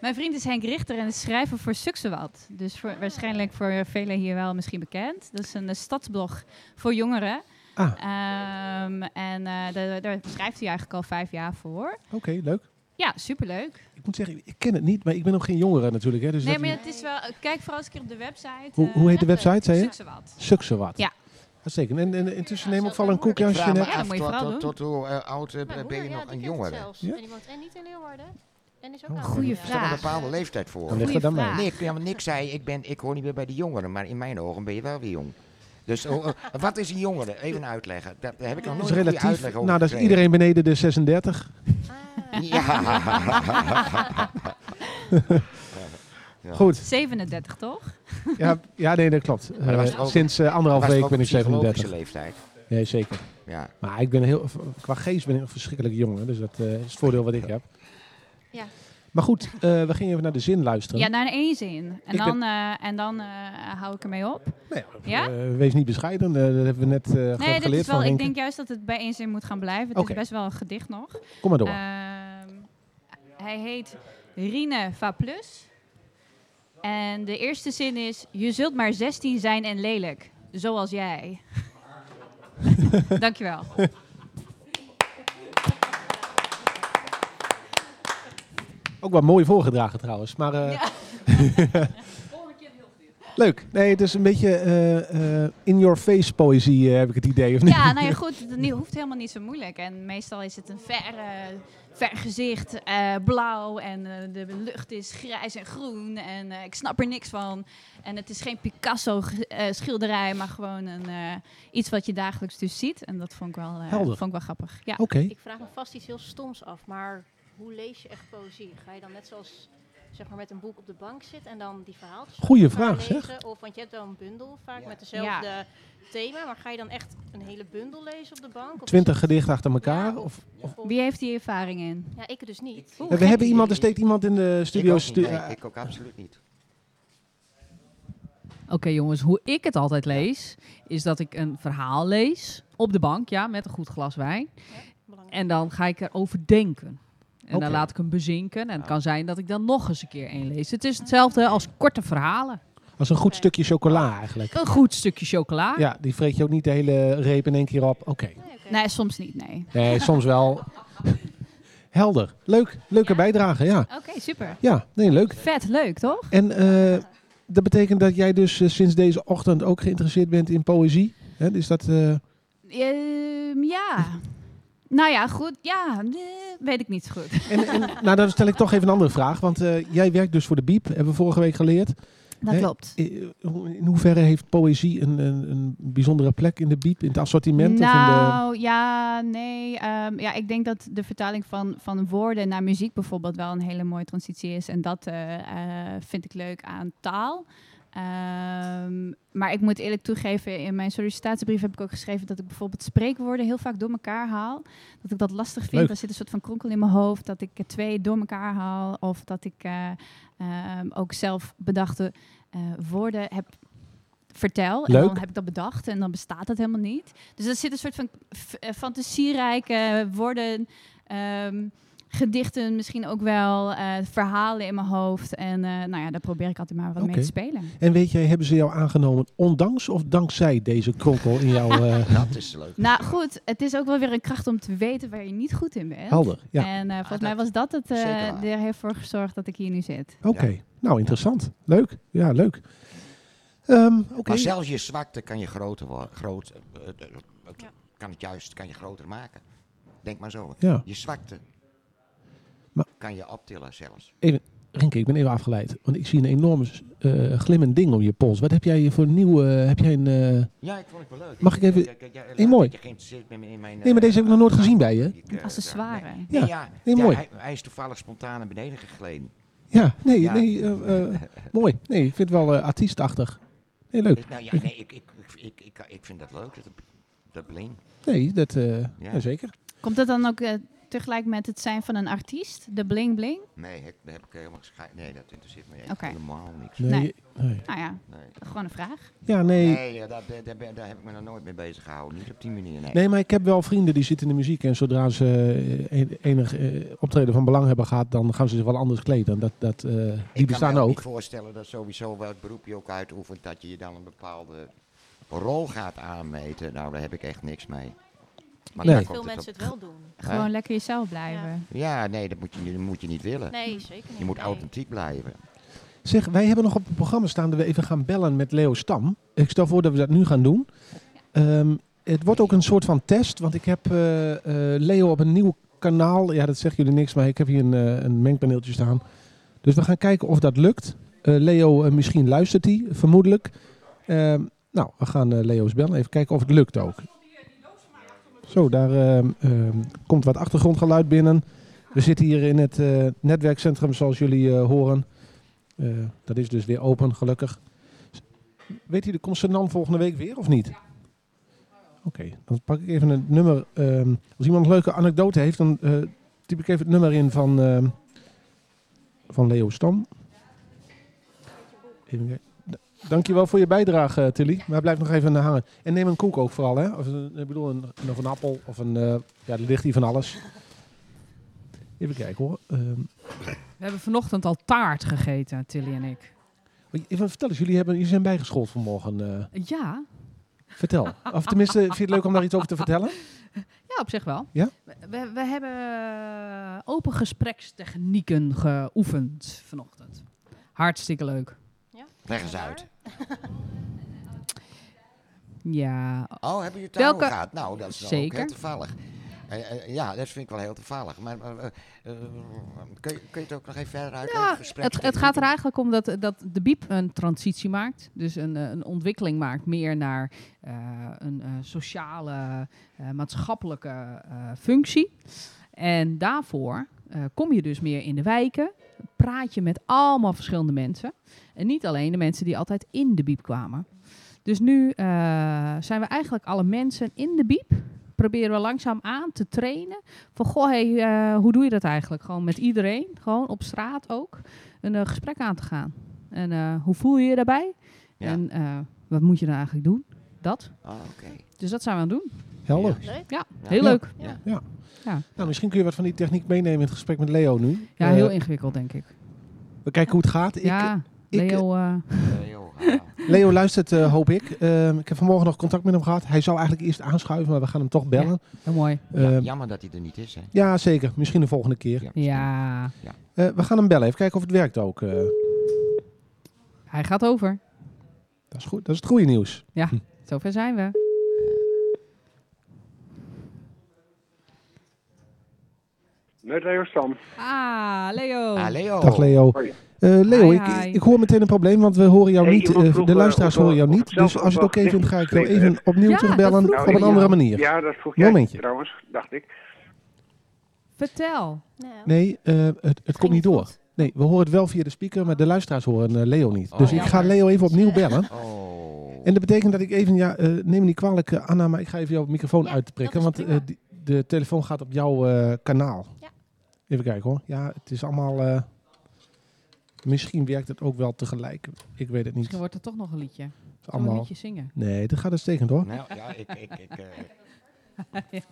Speaker 7: Mijn vriend is Henk Richter en is schrijver voor Suksewat. Dus voor, waarschijnlijk voor velen hier wel misschien bekend. Dat is een eh, stadsblog voor jongeren.
Speaker 1: Ah.
Speaker 7: Ehm, en eh, daar, daar schrijft hij eigenlijk al vijf jaar voor.
Speaker 1: Oké, leuk.
Speaker 7: Ja, superleuk.
Speaker 1: Ik moet zeggen, ik ken het niet, maar ik ben ook geen jongere natuurlijk. Hè, dus
Speaker 7: Nee,
Speaker 1: dat-
Speaker 7: maar het is wel... Kijk vooral eens een keer op de website.
Speaker 1: hoe,
Speaker 7: eh,
Speaker 1: hoe heet de website, zei je?
Speaker 7: Suksewat.
Speaker 1: Suksewat.
Speaker 7: Ja.
Speaker 1: Hartstikke. En, en intussen neem ik wel een koekje
Speaker 3: Ik
Speaker 1: als je...
Speaker 3: vraag me
Speaker 1: net-
Speaker 7: Ja, dat
Speaker 3: af
Speaker 7: moet je
Speaker 3: tot,
Speaker 7: vooral
Speaker 3: tot, tot hoe eh, oud eh,
Speaker 4: Mijn broer,
Speaker 3: ben je
Speaker 4: ja,
Speaker 3: nog
Speaker 4: die
Speaker 3: een
Speaker 4: kent het
Speaker 3: jongere?
Speaker 4: zelfs.
Speaker 1: Ja?
Speaker 4: En, iemand, en niet in Leeuwarden. En is ook
Speaker 1: Oh,
Speaker 4: aan
Speaker 7: goeie
Speaker 4: het
Speaker 3: Is daar
Speaker 7: vraag.
Speaker 3: een
Speaker 4: studeren.
Speaker 3: bepaalde leeftijd voor?
Speaker 1: Dan ligt
Speaker 7: Goeie
Speaker 1: het aan mij.
Speaker 7: vraag.
Speaker 3: Nee, ja, want ik zei, ik, ben, ik hoor niet meer bij de jongeren, maar in mijn ogen ben je wel weer jong. Dus
Speaker 1: [LAUGHS]
Speaker 3: oh, eh, wat is een jongere? Even uitleggen. Daar daar heb ik nog
Speaker 1: Dat
Speaker 3: nooit
Speaker 1: is
Speaker 3: een goede
Speaker 1: relatief.
Speaker 3: uitleg over
Speaker 1: Nou, dat is
Speaker 3: gekregen.
Speaker 1: iedereen beneden de
Speaker 3: [LAUGHS]
Speaker 1: 36.
Speaker 7: [LAUGHS]
Speaker 3: Ja. Ja.
Speaker 1: Goed.
Speaker 7: 37, toch?
Speaker 1: Ja, ja, nee, dat klopt.
Speaker 3: dat was
Speaker 1: Eh,
Speaker 3: ook-
Speaker 1: sinds eh, anderhalf
Speaker 3: Was het
Speaker 1: week
Speaker 3: ook
Speaker 1: ben ik
Speaker 3: psychologische
Speaker 1: 37.
Speaker 3: leeftijd.
Speaker 1: Nee, zeker.
Speaker 3: Ja.
Speaker 1: Maar ik ben heel, qua geest ben ik een verschrikkelijk jong. hè, Dus dat eh, is het voordeel wat ik heb.
Speaker 4: Ja.
Speaker 1: Maar goed, eh, we gingen even naar de zin luisteren.
Speaker 7: Ja, nou- naar één zin. En
Speaker 1: Ik ben-
Speaker 7: dan, eh, en dan eh, hou ik ermee op.
Speaker 1: Nee,
Speaker 7: Ja?
Speaker 1: eh, wees niet bescheiden. eh, dat hebben we net eh, ge-
Speaker 7: Nee, dit
Speaker 1: geleerd
Speaker 7: is wel,
Speaker 1: van
Speaker 7: ik
Speaker 1: Henk.
Speaker 7: denk juist dat het bij één zin moet gaan blijven. Het
Speaker 1: Oké.
Speaker 7: is best wel een gedicht nog.
Speaker 1: Kom maar door.
Speaker 7: Ehm, hij heet Rine Va Plus. En de eerste zin is: Je zult maar 16 zijn en lelijk, zoals jij. [LAUGHS] Dankjewel.
Speaker 1: Ook wel mooi voorgedragen trouwens. Maar, eh, [LAUGHS] Leuk. Nee, het is een beetje eh, eh, in-your-face poëzie, eh, heb ik het idee. Of niet?
Speaker 7: Ja, nou ja, goed, het nie- hoeft helemaal niet zo moeilijk. En meestal is het een ver, eh, ver gezicht, eh, blauw en eh, de lucht is grijs en groen en eh, ik snap er niks van. En het is geen Picasso-schilderij, maar gewoon een, eh, iets wat je dagelijks dus ziet. En dat vond ik wel, eh,
Speaker 1: Helder.
Speaker 7: vond ik wel grappig. Ja.
Speaker 1: Oké.
Speaker 4: Ik vraag me vast iets heel stoms af, maar hoe lees je echt poëzie? Ga je dan net zoals zeg maar, met een boek op de bank zitten en dan die verhaaltjes gaan
Speaker 1: Goeie vraag, zeg.
Speaker 4: lezen? Of, want je hebt wel een bundel vaak met dezelfde thema, maar ga je dan echt een hele bundel lezen op de bank? Of is-
Speaker 1: Twintig gedichten achter elkaar.
Speaker 4: Ja,
Speaker 1: Of, of,
Speaker 7: Wie heeft die ervaring in?
Speaker 4: Ja, ik dus niet.
Speaker 7: Oeh,
Speaker 1: we
Speaker 7: gek.
Speaker 1: hebben iemand, er steekt iemand in de
Speaker 3: Ik ook
Speaker 1: studio.
Speaker 3: niet,
Speaker 1: stu-
Speaker 3: nee,
Speaker 1: eh,
Speaker 3: ik ook absoluut niet.
Speaker 2: Oké jongens, hoe ik het altijd lees, is dat ik een verhaal lees op de bank, ja, met een goed glas wijn.
Speaker 4: Belangrijk.
Speaker 2: En dan ga ik erover denken. En
Speaker 1: Oké.
Speaker 2: dan laat ik hem bezinken. En het
Speaker 3: Ah.
Speaker 2: kan zijn dat ik dan nog eens een keer één lees. Het is hetzelfde als korte verhalen.
Speaker 1: Als een goed
Speaker 4: Oké.
Speaker 1: stukje chocola eigenlijk.
Speaker 2: Een goed stukje chocola.
Speaker 1: Ja, die vreet je ook niet de hele reep in één keer op. Oké.
Speaker 4: Nee, oké.
Speaker 7: Nee, soms niet, nee.
Speaker 1: Nee, soms wel. Helder. Leuk. Leuke
Speaker 7: Ja. Oh.
Speaker 1: bijdrage, ja.
Speaker 7: Oké, super.
Speaker 1: Ja, nee, leuk.
Speaker 7: Vet, leuk, toch?
Speaker 1: En eh, dat betekent dat jij dus eh, sinds deze ochtend ook geïnteresseerd bent in poëzie? Hè, dus dat... eh,
Speaker 7: Ehm, ja. Nou ja, goed. Ja, eh, weet ik niet zo goed.
Speaker 1: en, en, nou, dan stel ik toch even een andere vraag. Want eh, jij werkt dus voor de BIEB, hebben we vorige week geleerd.
Speaker 7: Dat
Speaker 1: Nee.
Speaker 7: klopt.
Speaker 1: Eh, hoe- In hoeverre heeft poëzie een, een, een bijzondere plek in de BIEB, in het assortiment? of in de,
Speaker 7: Nou, ja, nee. ehm, ja, ik denk dat de vertaling van, van woorden naar muziek bijvoorbeeld wel een hele mooie transitie is. En dat eh, eh, vind ik leuk aan taal. Ehm, maar ik moet eerlijk toegeven, in mijn sollicitatiebrief heb ik ook geschreven dat ik bijvoorbeeld spreekwoorden heel vaak door elkaar haal. Dat ik dat lastig vind.
Speaker 1: Leuk.
Speaker 7: Er zit een soort van kronkel in mijn hoofd. Dat ik er twee door elkaar haal. Of dat ik eh, ehm, ook zelf bedachte eh, woorden heb vertel. En
Speaker 1: Leuk.
Speaker 7: dan heb ik dat bedacht en dan bestaat dat helemaal niet. Dus er zit een soort van f- eh, fantasierijke woorden, ehm, gedichten misschien ook wel, eh, verhalen in mijn hoofd. En eh, nou ja, daar probeer ik altijd maar wat
Speaker 1: Oké.
Speaker 7: mee te spelen.
Speaker 1: En weet jij, hebben ze jou aangenomen ondanks of dankzij deze kronkel in
Speaker 3: [LAUGHS]
Speaker 1: jouw... eh,
Speaker 3: Dat is leuk.
Speaker 7: Nou goed, het is ook wel weer een kracht om te weten waar je niet goed in bent.
Speaker 1: helder, ja.
Speaker 7: En eh, volgens mij
Speaker 3: Ah, dat-
Speaker 7: was dat het eh,
Speaker 3: zeker waar.
Speaker 7: die er heeft voor gezorgd dat ik hier nu zit.
Speaker 1: Oké, nou interessant. Leuk, ja, leuk. Ehm, Oké.
Speaker 3: Maar zelfs je zwakte kan je groter worden. Groot, eh, eh, eh, het-
Speaker 4: Ja.
Speaker 3: Kan het juist kan je groter maken. Denk maar zo.
Speaker 1: Ja.
Speaker 3: Je zwakte
Speaker 1: Maar-
Speaker 3: kan je optillen zelfs.
Speaker 1: Renke, ik ben even afgeleid. Want ik zie een enorm eh, glimmend ding om je pols. Wat heb jij voor nieuwe... heb jij een... eh,
Speaker 3: Ja, ik vond het wel leuk.
Speaker 1: Mag ik even-
Speaker 3: laat
Speaker 1: mooi.
Speaker 3: dat je geïnteresseerd bent in mijn, eh,
Speaker 1: Nee, maar deze heb ik nog nooit gezien bij je.
Speaker 7: Een accessoire.
Speaker 3: Ja,
Speaker 1: Ja,
Speaker 3: nee, ja,
Speaker 1: nee,
Speaker 3: ja,
Speaker 1: mooi.
Speaker 3: Hij, hij is toevallig spontaan naar beneden gegleden.
Speaker 1: ja, nee,
Speaker 3: Ja.
Speaker 1: nee. eh, eh, mooi. Nee, ik vind het wel eh, artiestachtig. Nee, leuk.
Speaker 3: Nou ja, nee, ik, ik, ik, ik, ik, ik vind dat leuk, dat, dat bling.
Speaker 1: Nee, dat... eh ja. zeker.
Speaker 7: Komt dat dan ook eh, tegelijk met het zijn van een artiest? De bling bling?
Speaker 3: Nee, ik, daar heb ik helemaal scha- Nee, dat interesseert me echt
Speaker 7: Oké.
Speaker 3: helemaal niks.
Speaker 1: Nee,
Speaker 7: Nee.
Speaker 1: nee.
Speaker 7: Nou ja,
Speaker 3: Nee,
Speaker 7: gewoon een vraag.
Speaker 1: Ja, nee.
Speaker 3: nee ja, daar, ben- daar, ben- daar heb ik me nog nooit mee bezig gehouden. Niet op die manier, nee.
Speaker 1: Nee, maar ik heb wel vrienden die zitten in de muziek. En zodra ze eh, en- enig eh, optreden van belang hebben gehad, dan gaan ze zich wel anders kleden. Dat, dat, eh, die
Speaker 3: Ik
Speaker 1: bestaan
Speaker 3: kan me
Speaker 1: ook.
Speaker 3: niet voorstellen dat sowieso welk beroep je ook uitoefent, dat je je dan een bepaalde rol gaat aanmeten. Nou, daar heb ik echt niks mee. Maar
Speaker 1: Nee.
Speaker 3: daar
Speaker 4: Veel
Speaker 3: komt het
Speaker 4: mensen het wel doen.
Speaker 3: Hè?
Speaker 7: Gewoon lekker jezelf blijven.
Speaker 3: op- Ja, nee, dat moet je, niet- dat moet je niet willen.
Speaker 4: Nee, zeker niet.
Speaker 3: Je moet
Speaker 4: nee.
Speaker 3: authentiek blijven.
Speaker 1: Zeg, wij hebben nog op het programma staan dat we even gaan bellen met Leo Stam. Ik stel voor dat we dat nu gaan doen. Ehm, het wordt ook een soort van test, want ik heb eh, eh, Leo op een nieuw kanaal. Ja, dat zeggen jullie niks, maar ik heb hier een, eh, een mengpaneeltje staan. Dus we gaan kijken of dat lukt. Eh, Leo, eh, misschien luistert hij, vermoedelijk. Ehm, nou, we gaan eh, Leo eens bellen. Even kijken of het lukt ook. Zo, daar ehm, ehm, komt wat achtergrondgeluid binnen. We zitten hier in het eh, netwerkcentrum, zoals jullie eh, horen. Eh, dat is dus weer open, gelukkig. S- Weet u de concernant volgende week weer of niet? Oké, dan pak ik even het nummer. ehm, als iemand een leuke anekdote heeft, dan eh, typ ik even het nummer in van, ehm, van Leo Stam. Even kijken. D- Dankjewel voor je bijdrage, eh, Tilly. Maar blijf nog even eh, hangen. En neem een koek ook vooral, hè? Of, een- ik bedoel, een, of een appel of een... eh, ja, er ligt hier van alles. Even kijken hoor. Ehm,
Speaker 2: We hebben vanochtend al taart gegeten, Tilly en ik.
Speaker 1: Even vertel eens, jullie, hebben, jullie zijn bijgeschoold vanmorgen. eh.
Speaker 2: Ja,
Speaker 1: vertel. Of tenminste, vind je het leuk om daar iets over te vertellen?
Speaker 2: ja op zich wel.
Speaker 1: Ja?
Speaker 2: We, we, we hebben eh, open gesprekstechnieken geoefend vanochtend. Hartstikke leuk.
Speaker 3: Leg eens uit.
Speaker 2: Ja,
Speaker 3: Oh, hebben jullie tarot
Speaker 2: Welke-
Speaker 3: gehad? Nou, dat is wel ook
Speaker 2: Zeker.
Speaker 3: heel toevallig. Eh, eh, ja, dat vind ik wel heel toevallig. Maar eh, eh, eh, kun, je, kun je het ook nog even verder uit?
Speaker 2: Ja,
Speaker 3: het,
Speaker 2: Het, het gaat er eigenlijk om dat, dat de biep een transitie maakt. Dus een, eh, een ontwikkeling maakt meer naar eh, een eh, sociale, eh, maatschappelijke eh, functie. En daarvoor eh, kom je dus meer in de wijken. Praat je met allemaal verschillende mensen. En niet alleen de mensen die altijd in de biep kwamen. Dus nu eh, zijn we eigenlijk alle mensen in de biep. Proberen we langzaam aan te trainen. Van goh, hey, eh, hoe doe je dat eigenlijk? Gewoon met iedereen, gewoon op straat ook een eh, gesprek aan te gaan. En eh, hoe voel je je daarbij?
Speaker 3: Ja.
Speaker 2: En eh, wat moet je dan eigenlijk doen? Dat.
Speaker 3: Ah, oké.
Speaker 2: Dus dat zijn we aan het doen.
Speaker 1: Helder.
Speaker 3: Ja.
Speaker 4: Leuk.
Speaker 2: Ja,
Speaker 3: Ja.
Speaker 2: heel
Speaker 1: Ja.
Speaker 2: leuk.
Speaker 3: Ja.
Speaker 1: Nou, misschien kun je wat van die techniek meenemen in het gesprek met Leo nu.
Speaker 2: Ja,
Speaker 1: Eh,
Speaker 2: heel ingewikkeld, denk ik.
Speaker 1: we kijken hoe het gaat. Ik,
Speaker 2: ja,
Speaker 1: ik-
Speaker 2: Leo, eh,
Speaker 3: Eh, joh, ah.
Speaker 1: Leo luistert, eh, hoop ik. Ehm, ik heb vanmorgen nog contact met hem gehad. Hij zou eigenlijk eerst aanschuiven, maar we gaan hem toch bellen.
Speaker 2: heel mooi.
Speaker 1: Ehm, Ja,
Speaker 3: Jammer dat hij er niet is, hè?
Speaker 1: zeker. Misschien de volgende keer.
Speaker 2: Ja,
Speaker 1: Eh, we gaan hem bellen, even kijken of het werkt ook. eh.
Speaker 2: hij gaat over.
Speaker 1: dat, is goed, dat is het goede nieuws.
Speaker 3: Hm.
Speaker 2: Zover zijn we.
Speaker 8: Met Leo Stam.
Speaker 2: Ah, Leo.
Speaker 3: Ah, Leo.
Speaker 1: Dag Leo.
Speaker 8: Hoi.
Speaker 1: Eh, Leo,
Speaker 2: Hi,
Speaker 1: ik,
Speaker 2: hi.
Speaker 1: ik hoor meteen een probleem, want we horen jou
Speaker 8: Hey,
Speaker 1: niet.
Speaker 8: iemand
Speaker 1: eh,
Speaker 8: vroeg,
Speaker 1: de
Speaker 8: eh,
Speaker 1: luisteraars
Speaker 8: of, eh,
Speaker 1: horen jou
Speaker 8: of
Speaker 1: niet.
Speaker 8: het zelf
Speaker 1: Dus als je het
Speaker 8: ook
Speaker 1: oké
Speaker 8: wel
Speaker 1: vindt, ga ik jou
Speaker 8: technisch
Speaker 1: even opnieuw
Speaker 2: Ja,
Speaker 1: terugbellen
Speaker 2: dat vroeg
Speaker 1: op een
Speaker 8: ik
Speaker 1: andere
Speaker 2: jou.
Speaker 1: manier.
Speaker 8: Nou, Ja, dat vroeg jij
Speaker 1: Momentje.
Speaker 8: trouwens, dacht ik.
Speaker 2: Vertel.
Speaker 4: Nou,
Speaker 1: Nee, eh, het, het komt niet door.
Speaker 4: goed.
Speaker 1: Nee, we horen het wel via de speaker, maar de luisteraars horen eh, Leo niet.
Speaker 3: Oh,
Speaker 1: Dus ik ga
Speaker 3: jammer.
Speaker 1: Leo even opnieuw bellen.
Speaker 3: Oh.
Speaker 1: En dat betekent dat ik even, ja, eh, neem me niet kwalijk eh, Anna, maar ik ga even jouw microfoon
Speaker 4: Ja, dat
Speaker 1: uitprikken. Want
Speaker 4: is prima.
Speaker 1: eh, die- de telefoon gaat op jouw eh, kanaal.
Speaker 4: Ja.
Speaker 1: Even kijken hoor. Ja, het is allemaal... eh, misschien werkt het ook wel tegelijk. Ik weet het niet.
Speaker 2: Misschien wordt er toch nog een liedje. Zullen
Speaker 1: Het is
Speaker 2: we een
Speaker 1: allemaal...
Speaker 2: liedje zingen?
Speaker 1: Nee, dat gaat uitstekend hoor.
Speaker 3: Nou, ja, ik... ik, ik
Speaker 2: [LAUGHS]
Speaker 3: eh, Een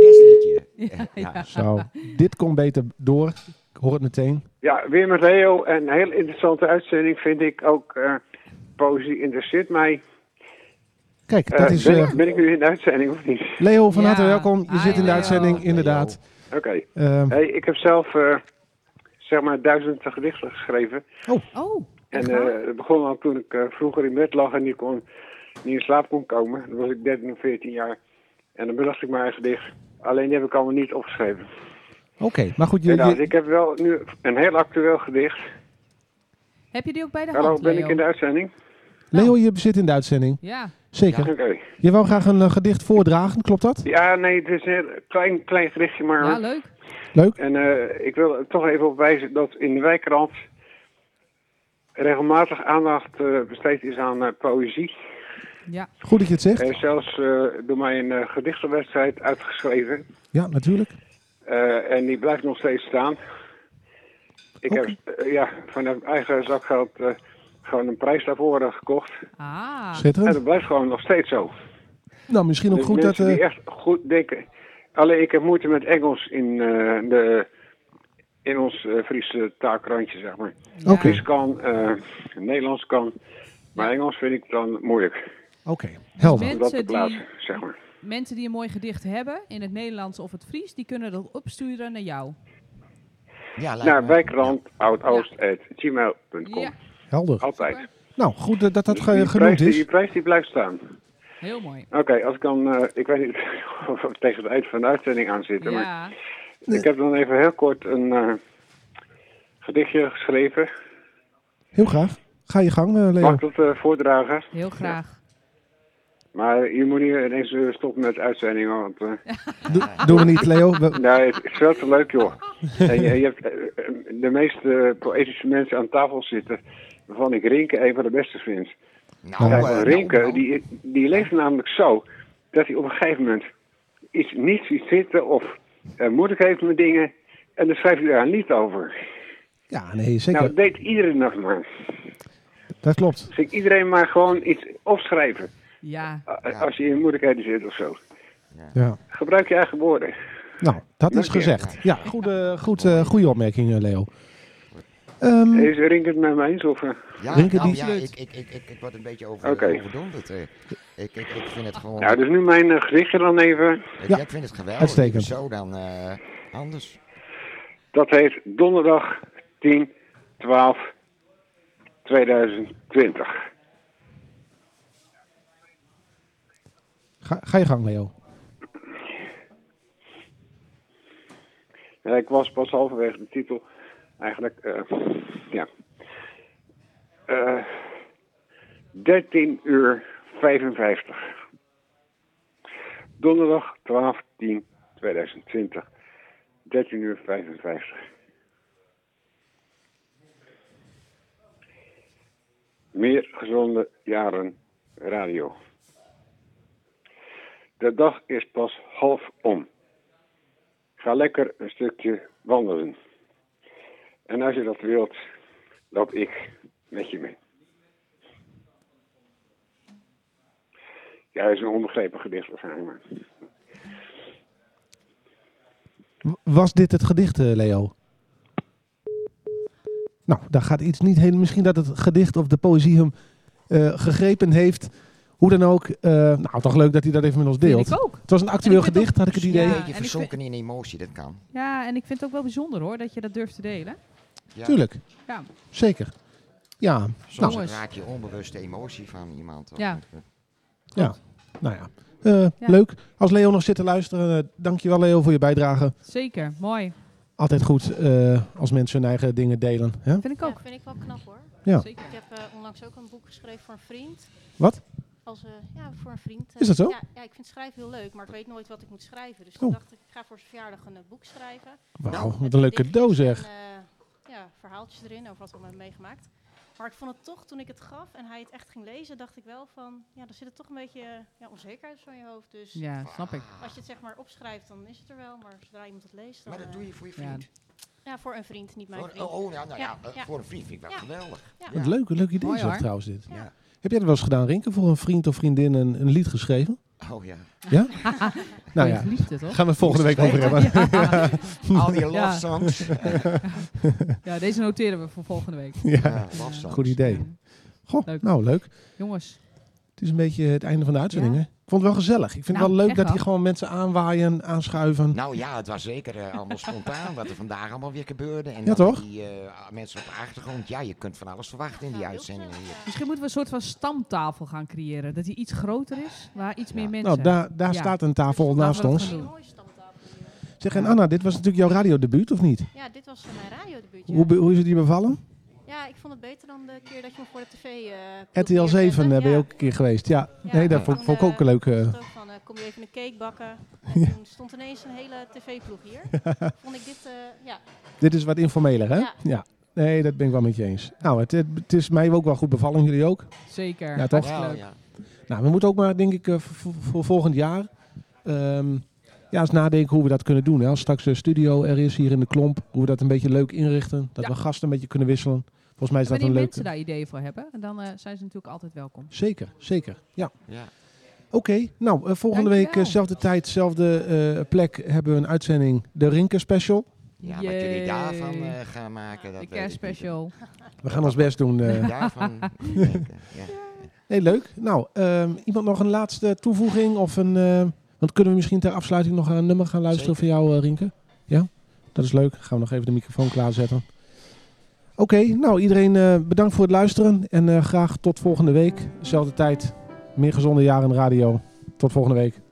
Speaker 3: testliedje.
Speaker 2: Ja,
Speaker 3: Ja.
Speaker 2: ja.
Speaker 1: Zo, dit komt beter door. Ik hoor het meteen.
Speaker 8: Ja, weer met Leo. Een heel interessante uitzending vind ik ook. eh Poëzie interesseert mij.
Speaker 1: Kijk,
Speaker 8: Eh,
Speaker 1: dat is...
Speaker 8: ben,
Speaker 1: eh,
Speaker 8: ik- ben ik nu in de uitzending of niet?
Speaker 1: Leo, van
Speaker 2: Ja.
Speaker 1: harte welkom. Je
Speaker 2: Hi,
Speaker 1: zit in de
Speaker 2: Leo.
Speaker 1: uitzending, inderdaad.
Speaker 8: Oké.
Speaker 1: Ehm,
Speaker 8: Hey, ik heb zelf eh, zeg maar duizend gedichten geschreven.
Speaker 2: Oh,
Speaker 8: En eh, dat begon al toen ik eh, vroeger in bed lag en niet, kon, niet in slaap kon komen. Dan was ik 13 of 14 jaar. En dan bedacht ik mijn eigen gedicht. Alleen die heb ik allemaal niet opgeschreven.
Speaker 1: Oké, maar goed, je,
Speaker 8: Helaas,
Speaker 1: je,
Speaker 8: ik heb wel nu een heel actueel gedicht.
Speaker 2: heb je die ook bij de
Speaker 8: Hallo,
Speaker 2: hand,
Speaker 8: ben
Speaker 2: Leo?
Speaker 8: ik in de uitzending?
Speaker 1: Leo, je zit in de uitzending.
Speaker 2: Ja,
Speaker 1: Zeker.
Speaker 8: Oké.
Speaker 1: Je wou graag een eh, gedicht voordragen, klopt dat?
Speaker 8: Ja, nee, het is een heel klein, klein gedichtje, maar...
Speaker 2: ja, leuk.
Speaker 1: Leuk.
Speaker 8: En eh, ik wil er toch even op wijzen dat in de wijkrand regelmatig aandacht eh, besteed is aan eh, poëzie.
Speaker 2: Ja,
Speaker 1: Goed dat je het zegt.
Speaker 8: Er is zelfs eh, door mij een eh, gedichtenwedstrijd uitgeschreven.
Speaker 1: Ja, natuurlijk.
Speaker 8: Eh, en die blijft nog steeds staan. Ik
Speaker 1: Oké.
Speaker 8: heb eh, ja, van mijn eigen zakgeld eh, gewoon een prijs daarvoor eh, gekocht.
Speaker 2: ah,
Speaker 8: En
Speaker 1: Schitterend.
Speaker 8: dat blijft gewoon nog steeds zo.
Speaker 1: Nou, misschien ook
Speaker 8: Dus
Speaker 1: goed dat...
Speaker 8: mensen
Speaker 1: eh
Speaker 8: die echt goed denken. Alleen ik heb moeite met Engels in, eh, de, in ons eh, Friese taakrandje, zeg maar.
Speaker 2: ja.
Speaker 1: Oké.
Speaker 8: Fries kan, eh, Nederlands kan. Maar Engels vind ik dan moeilijk.
Speaker 1: Oké, helder.
Speaker 8: Om dat te
Speaker 2: Mensen die,
Speaker 8: plaatsen, zeg maar.
Speaker 2: mensen die een mooi gedicht hebben, in het Nederlands of het Fries, die kunnen dat opsturen naar jou.
Speaker 3: Ja, lijkt
Speaker 8: Naar
Speaker 3: me.
Speaker 8: wijkrand, oudoost.gmail.com.
Speaker 2: Ja,
Speaker 1: Helder.
Speaker 8: Altijd.
Speaker 2: super.
Speaker 1: Nou, goed dat dat
Speaker 8: Dus
Speaker 1: ge-
Speaker 8: die
Speaker 1: genoemd
Speaker 8: prijs, Die
Speaker 1: is.
Speaker 8: prijs die blijft staan.
Speaker 2: Heel mooi.
Speaker 8: Oké, als ik dan, eh, ik weet niet [LAUGHS] of we tegen het eind van de uitzending aan zitten, maar
Speaker 2: Ja,
Speaker 8: ik heb dan even heel kort een eh, gedichtje geschreven.
Speaker 1: Heel graag. Ga je gang, eh,
Speaker 8: Mag
Speaker 1: Leo.
Speaker 8: ik dat eh, voordragen?
Speaker 2: heel graag.
Speaker 8: Maar je moet niet ineens eh, stoppen met de uitzending, hoor, want eh,
Speaker 1: [LAUGHS] Doe- Doen we niet, Leo. We-
Speaker 8: nee, het is wel te leuk, joh. En je, je hebt eh, eh, de meest eh, poëtische mensen aan tafel zitten, waarvan ik Rinke een van de beste vind.
Speaker 1: Ja,
Speaker 3: Nou,
Speaker 8: Kijk,
Speaker 3: eh, nou,
Speaker 8: Rinke,
Speaker 1: oh.
Speaker 3: nou.
Speaker 8: die, die leeft namelijk zo dat hij op een gegeven moment iets niet ziet zitten of eh, moeilijk heeft met dingen. En dan schrijft hij daar een lied over.
Speaker 1: Ja, nee,
Speaker 8: Nou,
Speaker 1: zeker.
Speaker 8: dat deed iedereen nog maar.
Speaker 1: Dat klopt.
Speaker 8: Dus ik iedereen maar gewoon iets opschrijven
Speaker 2: Ja,
Speaker 8: a-
Speaker 3: Ja.
Speaker 8: als je in moeilijkheden zit of zo.
Speaker 1: Ja.
Speaker 8: Gebruik je eigen woorden.
Speaker 1: Nou, dat is
Speaker 8: Dank je.
Speaker 1: gezegd. Ja, goede, goed, eh, goede opmerking, eh, Leo. Ehm,
Speaker 8: Is Rinke het met mij eens? Of, eh?
Speaker 3: Ja,
Speaker 1: Rinke
Speaker 3: nou,
Speaker 1: die-
Speaker 3: ja ik, ik, ik, ik, ik word een beetje over,
Speaker 8: Oké.
Speaker 3: overdonderd. eh. Ik, ik, ik vind het gewoon...
Speaker 8: Nou, dus nu mijn eh, gedichtje dan even.
Speaker 3: ik,
Speaker 1: Ja.
Speaker 3: ik vind het geweldig.
Speaker 1: Uitstekend.
Speaker 3: Zo dan eh, anders.
Speaker 8: Dat heet donderdag 10, 12, 2020.
Speaker 1: ga, ga je gang, Leo.
Speaker 8: Ja, ik was pas halverwege de titel eigenlijk. eh, ja. Eh 13 uur 55. Donderdag 12 10 2020. 13 uur 55. Meer gezonde jaren radio. De dag is pas half om ga lekker een stukje wandelen. En als je dat wilt, loop ik met je mee. Ja, dat is een onbegrepen gedicht waarschijnlijk. maar-
Speaker 1: W- Was dit het gedicht, eh, Leo? Nou, daar gaat iets niet heen. Misschien dat het gedicht of de poëzie hem eh, gegrepen heeft. Hoe dan ook. eh, nou, toch leuk dat hij dat even met ons deelt.
Speaker 2: Vind ik ook.
Speaker 1: Het was een actueel
Speaker 2: En ik ben
Speaker 1: gedicht, had ik het
Speaker 2: Ja,
Speaker 1: idee.
Speaker 3: Een
Speaker 2: en ik
Speaker 3: beetje
Speaker 2: vind-
Speaker 3: verzonken in emotie, dat kan.
Speaker 2: Ja, en ik vind het ook wel bijzonder hoor, dat je dat durft te delen.
Speaker 3: Ja,
Speaker 1: Tuurlijk.
Speaker 2: Ja.
Speaker 1: Zeker. Ja,
Speaker 3: Soms
Speaker 2: Nou.
Speaker 3: raak je onbewust de emotie van iemand. eh, of-
Speaker 2: Ja.
Speaker 1: nou ja. Eh,
Speaker 2: Ja.
Speaker 1: Leuk. Als Leo nog zit te luisteren, eh, dankjewel Leo voor je bijdrage.
Speaker 2: Zeker, mooi.
Speaker 1: Altijd goed eh, als mensen hun eigen dingen delen. Hè?
Speaker 2: Vind ik
Speaker 4: Ja,
Speaker 2: ook.
Speaker 4: vind ik wel knap hoor.
Speaker 1: Ja.
Speaker 2: Zeker.
Speaker 4: Ik heb eh, onlangs ook een boek geschreven voor een vriend.
Speaker 1: Wat?
Speaker 4: Als, eh, ja, voor een vriend. eh,
Speaker 1: Is dat zo?
Speaker 4: Ja, ja, ik vind schrijven heel leuk, maar ik weet nooit wat ik moet schrijven. Dus toen
Speaker 1: Oh.
Speaker 4: dacht ik, ik ga voor zijn verjaardag een eh, boek schrijven. Nou,
Speaker 1: Wauw,
Speaker 4: Met
Speaker 1: wat een leuk
Speaker 4: gedichtjes
Speaker 1: cadeau zeg.
Speaker 4: En, eh, ja, verhaaltjes erin over wat we hebben meegemaakt. Maar ik vond het toch, toen ik het gaf en hij het echt ging lezen, dacht ik wel van, ja, er zit er toch een beetje eh, ja, onzekerheid van je hoofd. Dus
Speaker 2: Ja, snap ik.
Speaker 4: als je het zeg maar opschrijft, dan is het er wel. Maar zodra iemand het leest, dan...
Speaker 3: Maar dat
Speaker 4: eh,
Speaker 3: doe je voor je
Speaker 2: Ja.
Speaker 3: vriend.
Speaker 4: Ja, voor een vriend, niet mijn
Speaker 3: Voor-
Speaker 4: vriend.
Speaker 3: oh, oh, ja, nou ja,
Speaker 4: Ja,
Speaker 3: eh,
Speaker 4: ja.
Speaker 3: voor een vriend vind ik wel
Speaker 4: Ja.
Speaker 3: geweldig.
Speaker 4: Ja.
Speaker 1: Wat leuk, leuk idee
Speaker 2: Mooi,
Speaker 1: zeg
Speaker 2: hoor.
Speaker 1: trouwens dit.
Speaker 3: Ja.
Speaker 1: Heb jij dat wel eens gedaan, Rinke? Voor een vriend of vriendin een, een lied geschreven?
Speaker 3: Oh ja. [LAUGHS]
Speaker 1: Nou
Speaker 2: Goeie
Speaker 1: ja,
Speaker 2: Liefde, toch?
Speaker 1: gaan we het volgende week over hebben.
Speaker 2: Ja.
Speaker 1: [LAUGHS]
Speaker 3: Al die love
Speaker 2: Ja.
Speaker 3: songs.
Speaker 2: ja, deze noteren we voor volgende week.
Speaker 1: Ja,
Speaker 3: Ja, love songs.
Speaker 1: goed idee. Goh,
Speaker 2: Leuk.
Speaker 1: nou leuk.
Speaker 2: Jongens,
Speaker 1: Het is een beetje het einde van de uitzending, hè? Ik vond het wel gezellig. Ik vind
Speaker 2: Nou,
Speaker 1: het wel leuk
Speaker 2: echt
Speaker 1: dat
Speaker 2: wel.
Speaker 1: hier gewoon mensen aanwaaien, aanschuiven.
Speaker 3: Nou ja, het was zeker eh, allemaal spontaan wat er vandaag allemaal weer gebeurde. En
Speaker 1: Ja,
Speaker 3: dan met
Speaker 1: toch?
Speaker 3: Die eh, mensen op de achtergrond. Ja, je kunt van alles verwachten in die
Speaker 4: Ja, heel
Speaker 3: uitzendingen hier.
Speaker 4: gezellig, ja.
Speaker 2: misschien moeten we een soort van stamtafel gaan creëren. Dat die iets groter is, waar iets meer
Speaker 3: Ja.
Speaker 2: mensen...
Speaker 1: Nou, daar, daar
Speaker 2: Ja. Dus
Speaker 1: staat een tafel
Speaker 2: Laten we
Speaker 1: naast
Speaker 2: dat
Speaker 1: ons.
Speaker 2: gaan
Speaker 4: Een
Speaker 2: doen.
Speaker 4: mooie stamtafel hier.
Speaker 1: Zeg, en Anna, dit was natuurlijk jouw radiodebuut, of niet?
Speaker 4: Ja, dit was eh, mijn radiodebuut.
Speaker 1: Hoe, be-
Speaker 4: Ja.
Speaker 1: hoe is het je bevallen?
Speaker 4: ja, ik vond het beter dan de keer dat je me voor de tv... eh
Speaker 1: RTL 7
Speaker 4: probeerde.
Speaker 1: eh, ben
Speaker 4: Ja.
Speaker 1: je ook een keer geweest. Ja,
Speaker 4: Ja,
Speaker 1: nee, dat
Speaker 4: en
Speaker 1: vond,
Speaker 4: toen,
Speaker 1: vond ik ook
Speaker 4: eh,
Speaker 1: leuk. eh.
Speaker 4: was het ook van, eh, kom je even een cake
Speaker 1: [LAUGHS]
Speaker 4: bakken? En toen stond ineens een hele tv-ploeg hier. Vond ik dit, eh, ja,
Speaker 1: Dit is wat informeler, hè? Ja.
Speaker 4: Ja.
Speaker 1: Nee, dat ben ik wel met je eens. Nou, het, het, het is mij ook wel goed bevallen, jullie ook.
Speaker 2: Zeker.
Speaker 1: Ja, toch?
Speaker 3: Wel,
Speaker 2: Leuk.
Speaker 3: ja.
Speaker 1: Nou, we moeten ook maar, denk ik, eh, voor, voor volgend jaar ehm, ja, eens nadenken hoe we dat kunnen doen. Hè. Als straks de studio er is hier in de klomp, hoe we dat een beetje leuk inrichten. Dat
Speaker 2: Ja.
Speaker 1: we gasten een beetje kunnen wisselen. Volgens mij is
Speaker 2: En
Speaker 1: dat
Speaker 2: wanneer
Speaker 1: een
Speaker 2: mensen
Speaker 1: leuke.
Speaker 2: daar ideeën voor hebben, en dan eh, zijn ze natuurlijk altijd welkom.
Speaker 1: Zeker, zeker. Ja.
Speaker 3: Ja.
Speaker 1: Oké, nou, eh, volgende week, eh,
Speaker 2: Dankjewel.
Speaker 1: zelfde tijd, zelfde eh, plek, hebben we een uitzending. De Rinker Special.
Speaker 3: Ja, wat jullie
Speaker 2: Yay.
Speaker 3: daarvan eh, gaan maken. Dat
Speaker 2: De
Speaker 3: weet ik
Speaker 2: kerstspecial.
Speaker 1: We gaan ons best doen.
Speaker 3: niet.
Speaker 1: eh.
Speaker 3: Daarvan denken, ja.
Speaker 1: Nee, leuk. Nou, ehm, iemand nog een laatste toevoeging? Of een, eh, want kunnen we misschien ter afsluiting nog een nummer gaan luisteren van jou, eh, Rinke? Ja, dat is leuk. Gaan we nog even de microfoon klaarzetten. Oké, nou iedereen eh, bedankt voor het luisteren. En eh, graag tot volgende week. Zelfde tijd. Meer gezonde jaren radio. Tot volgende week.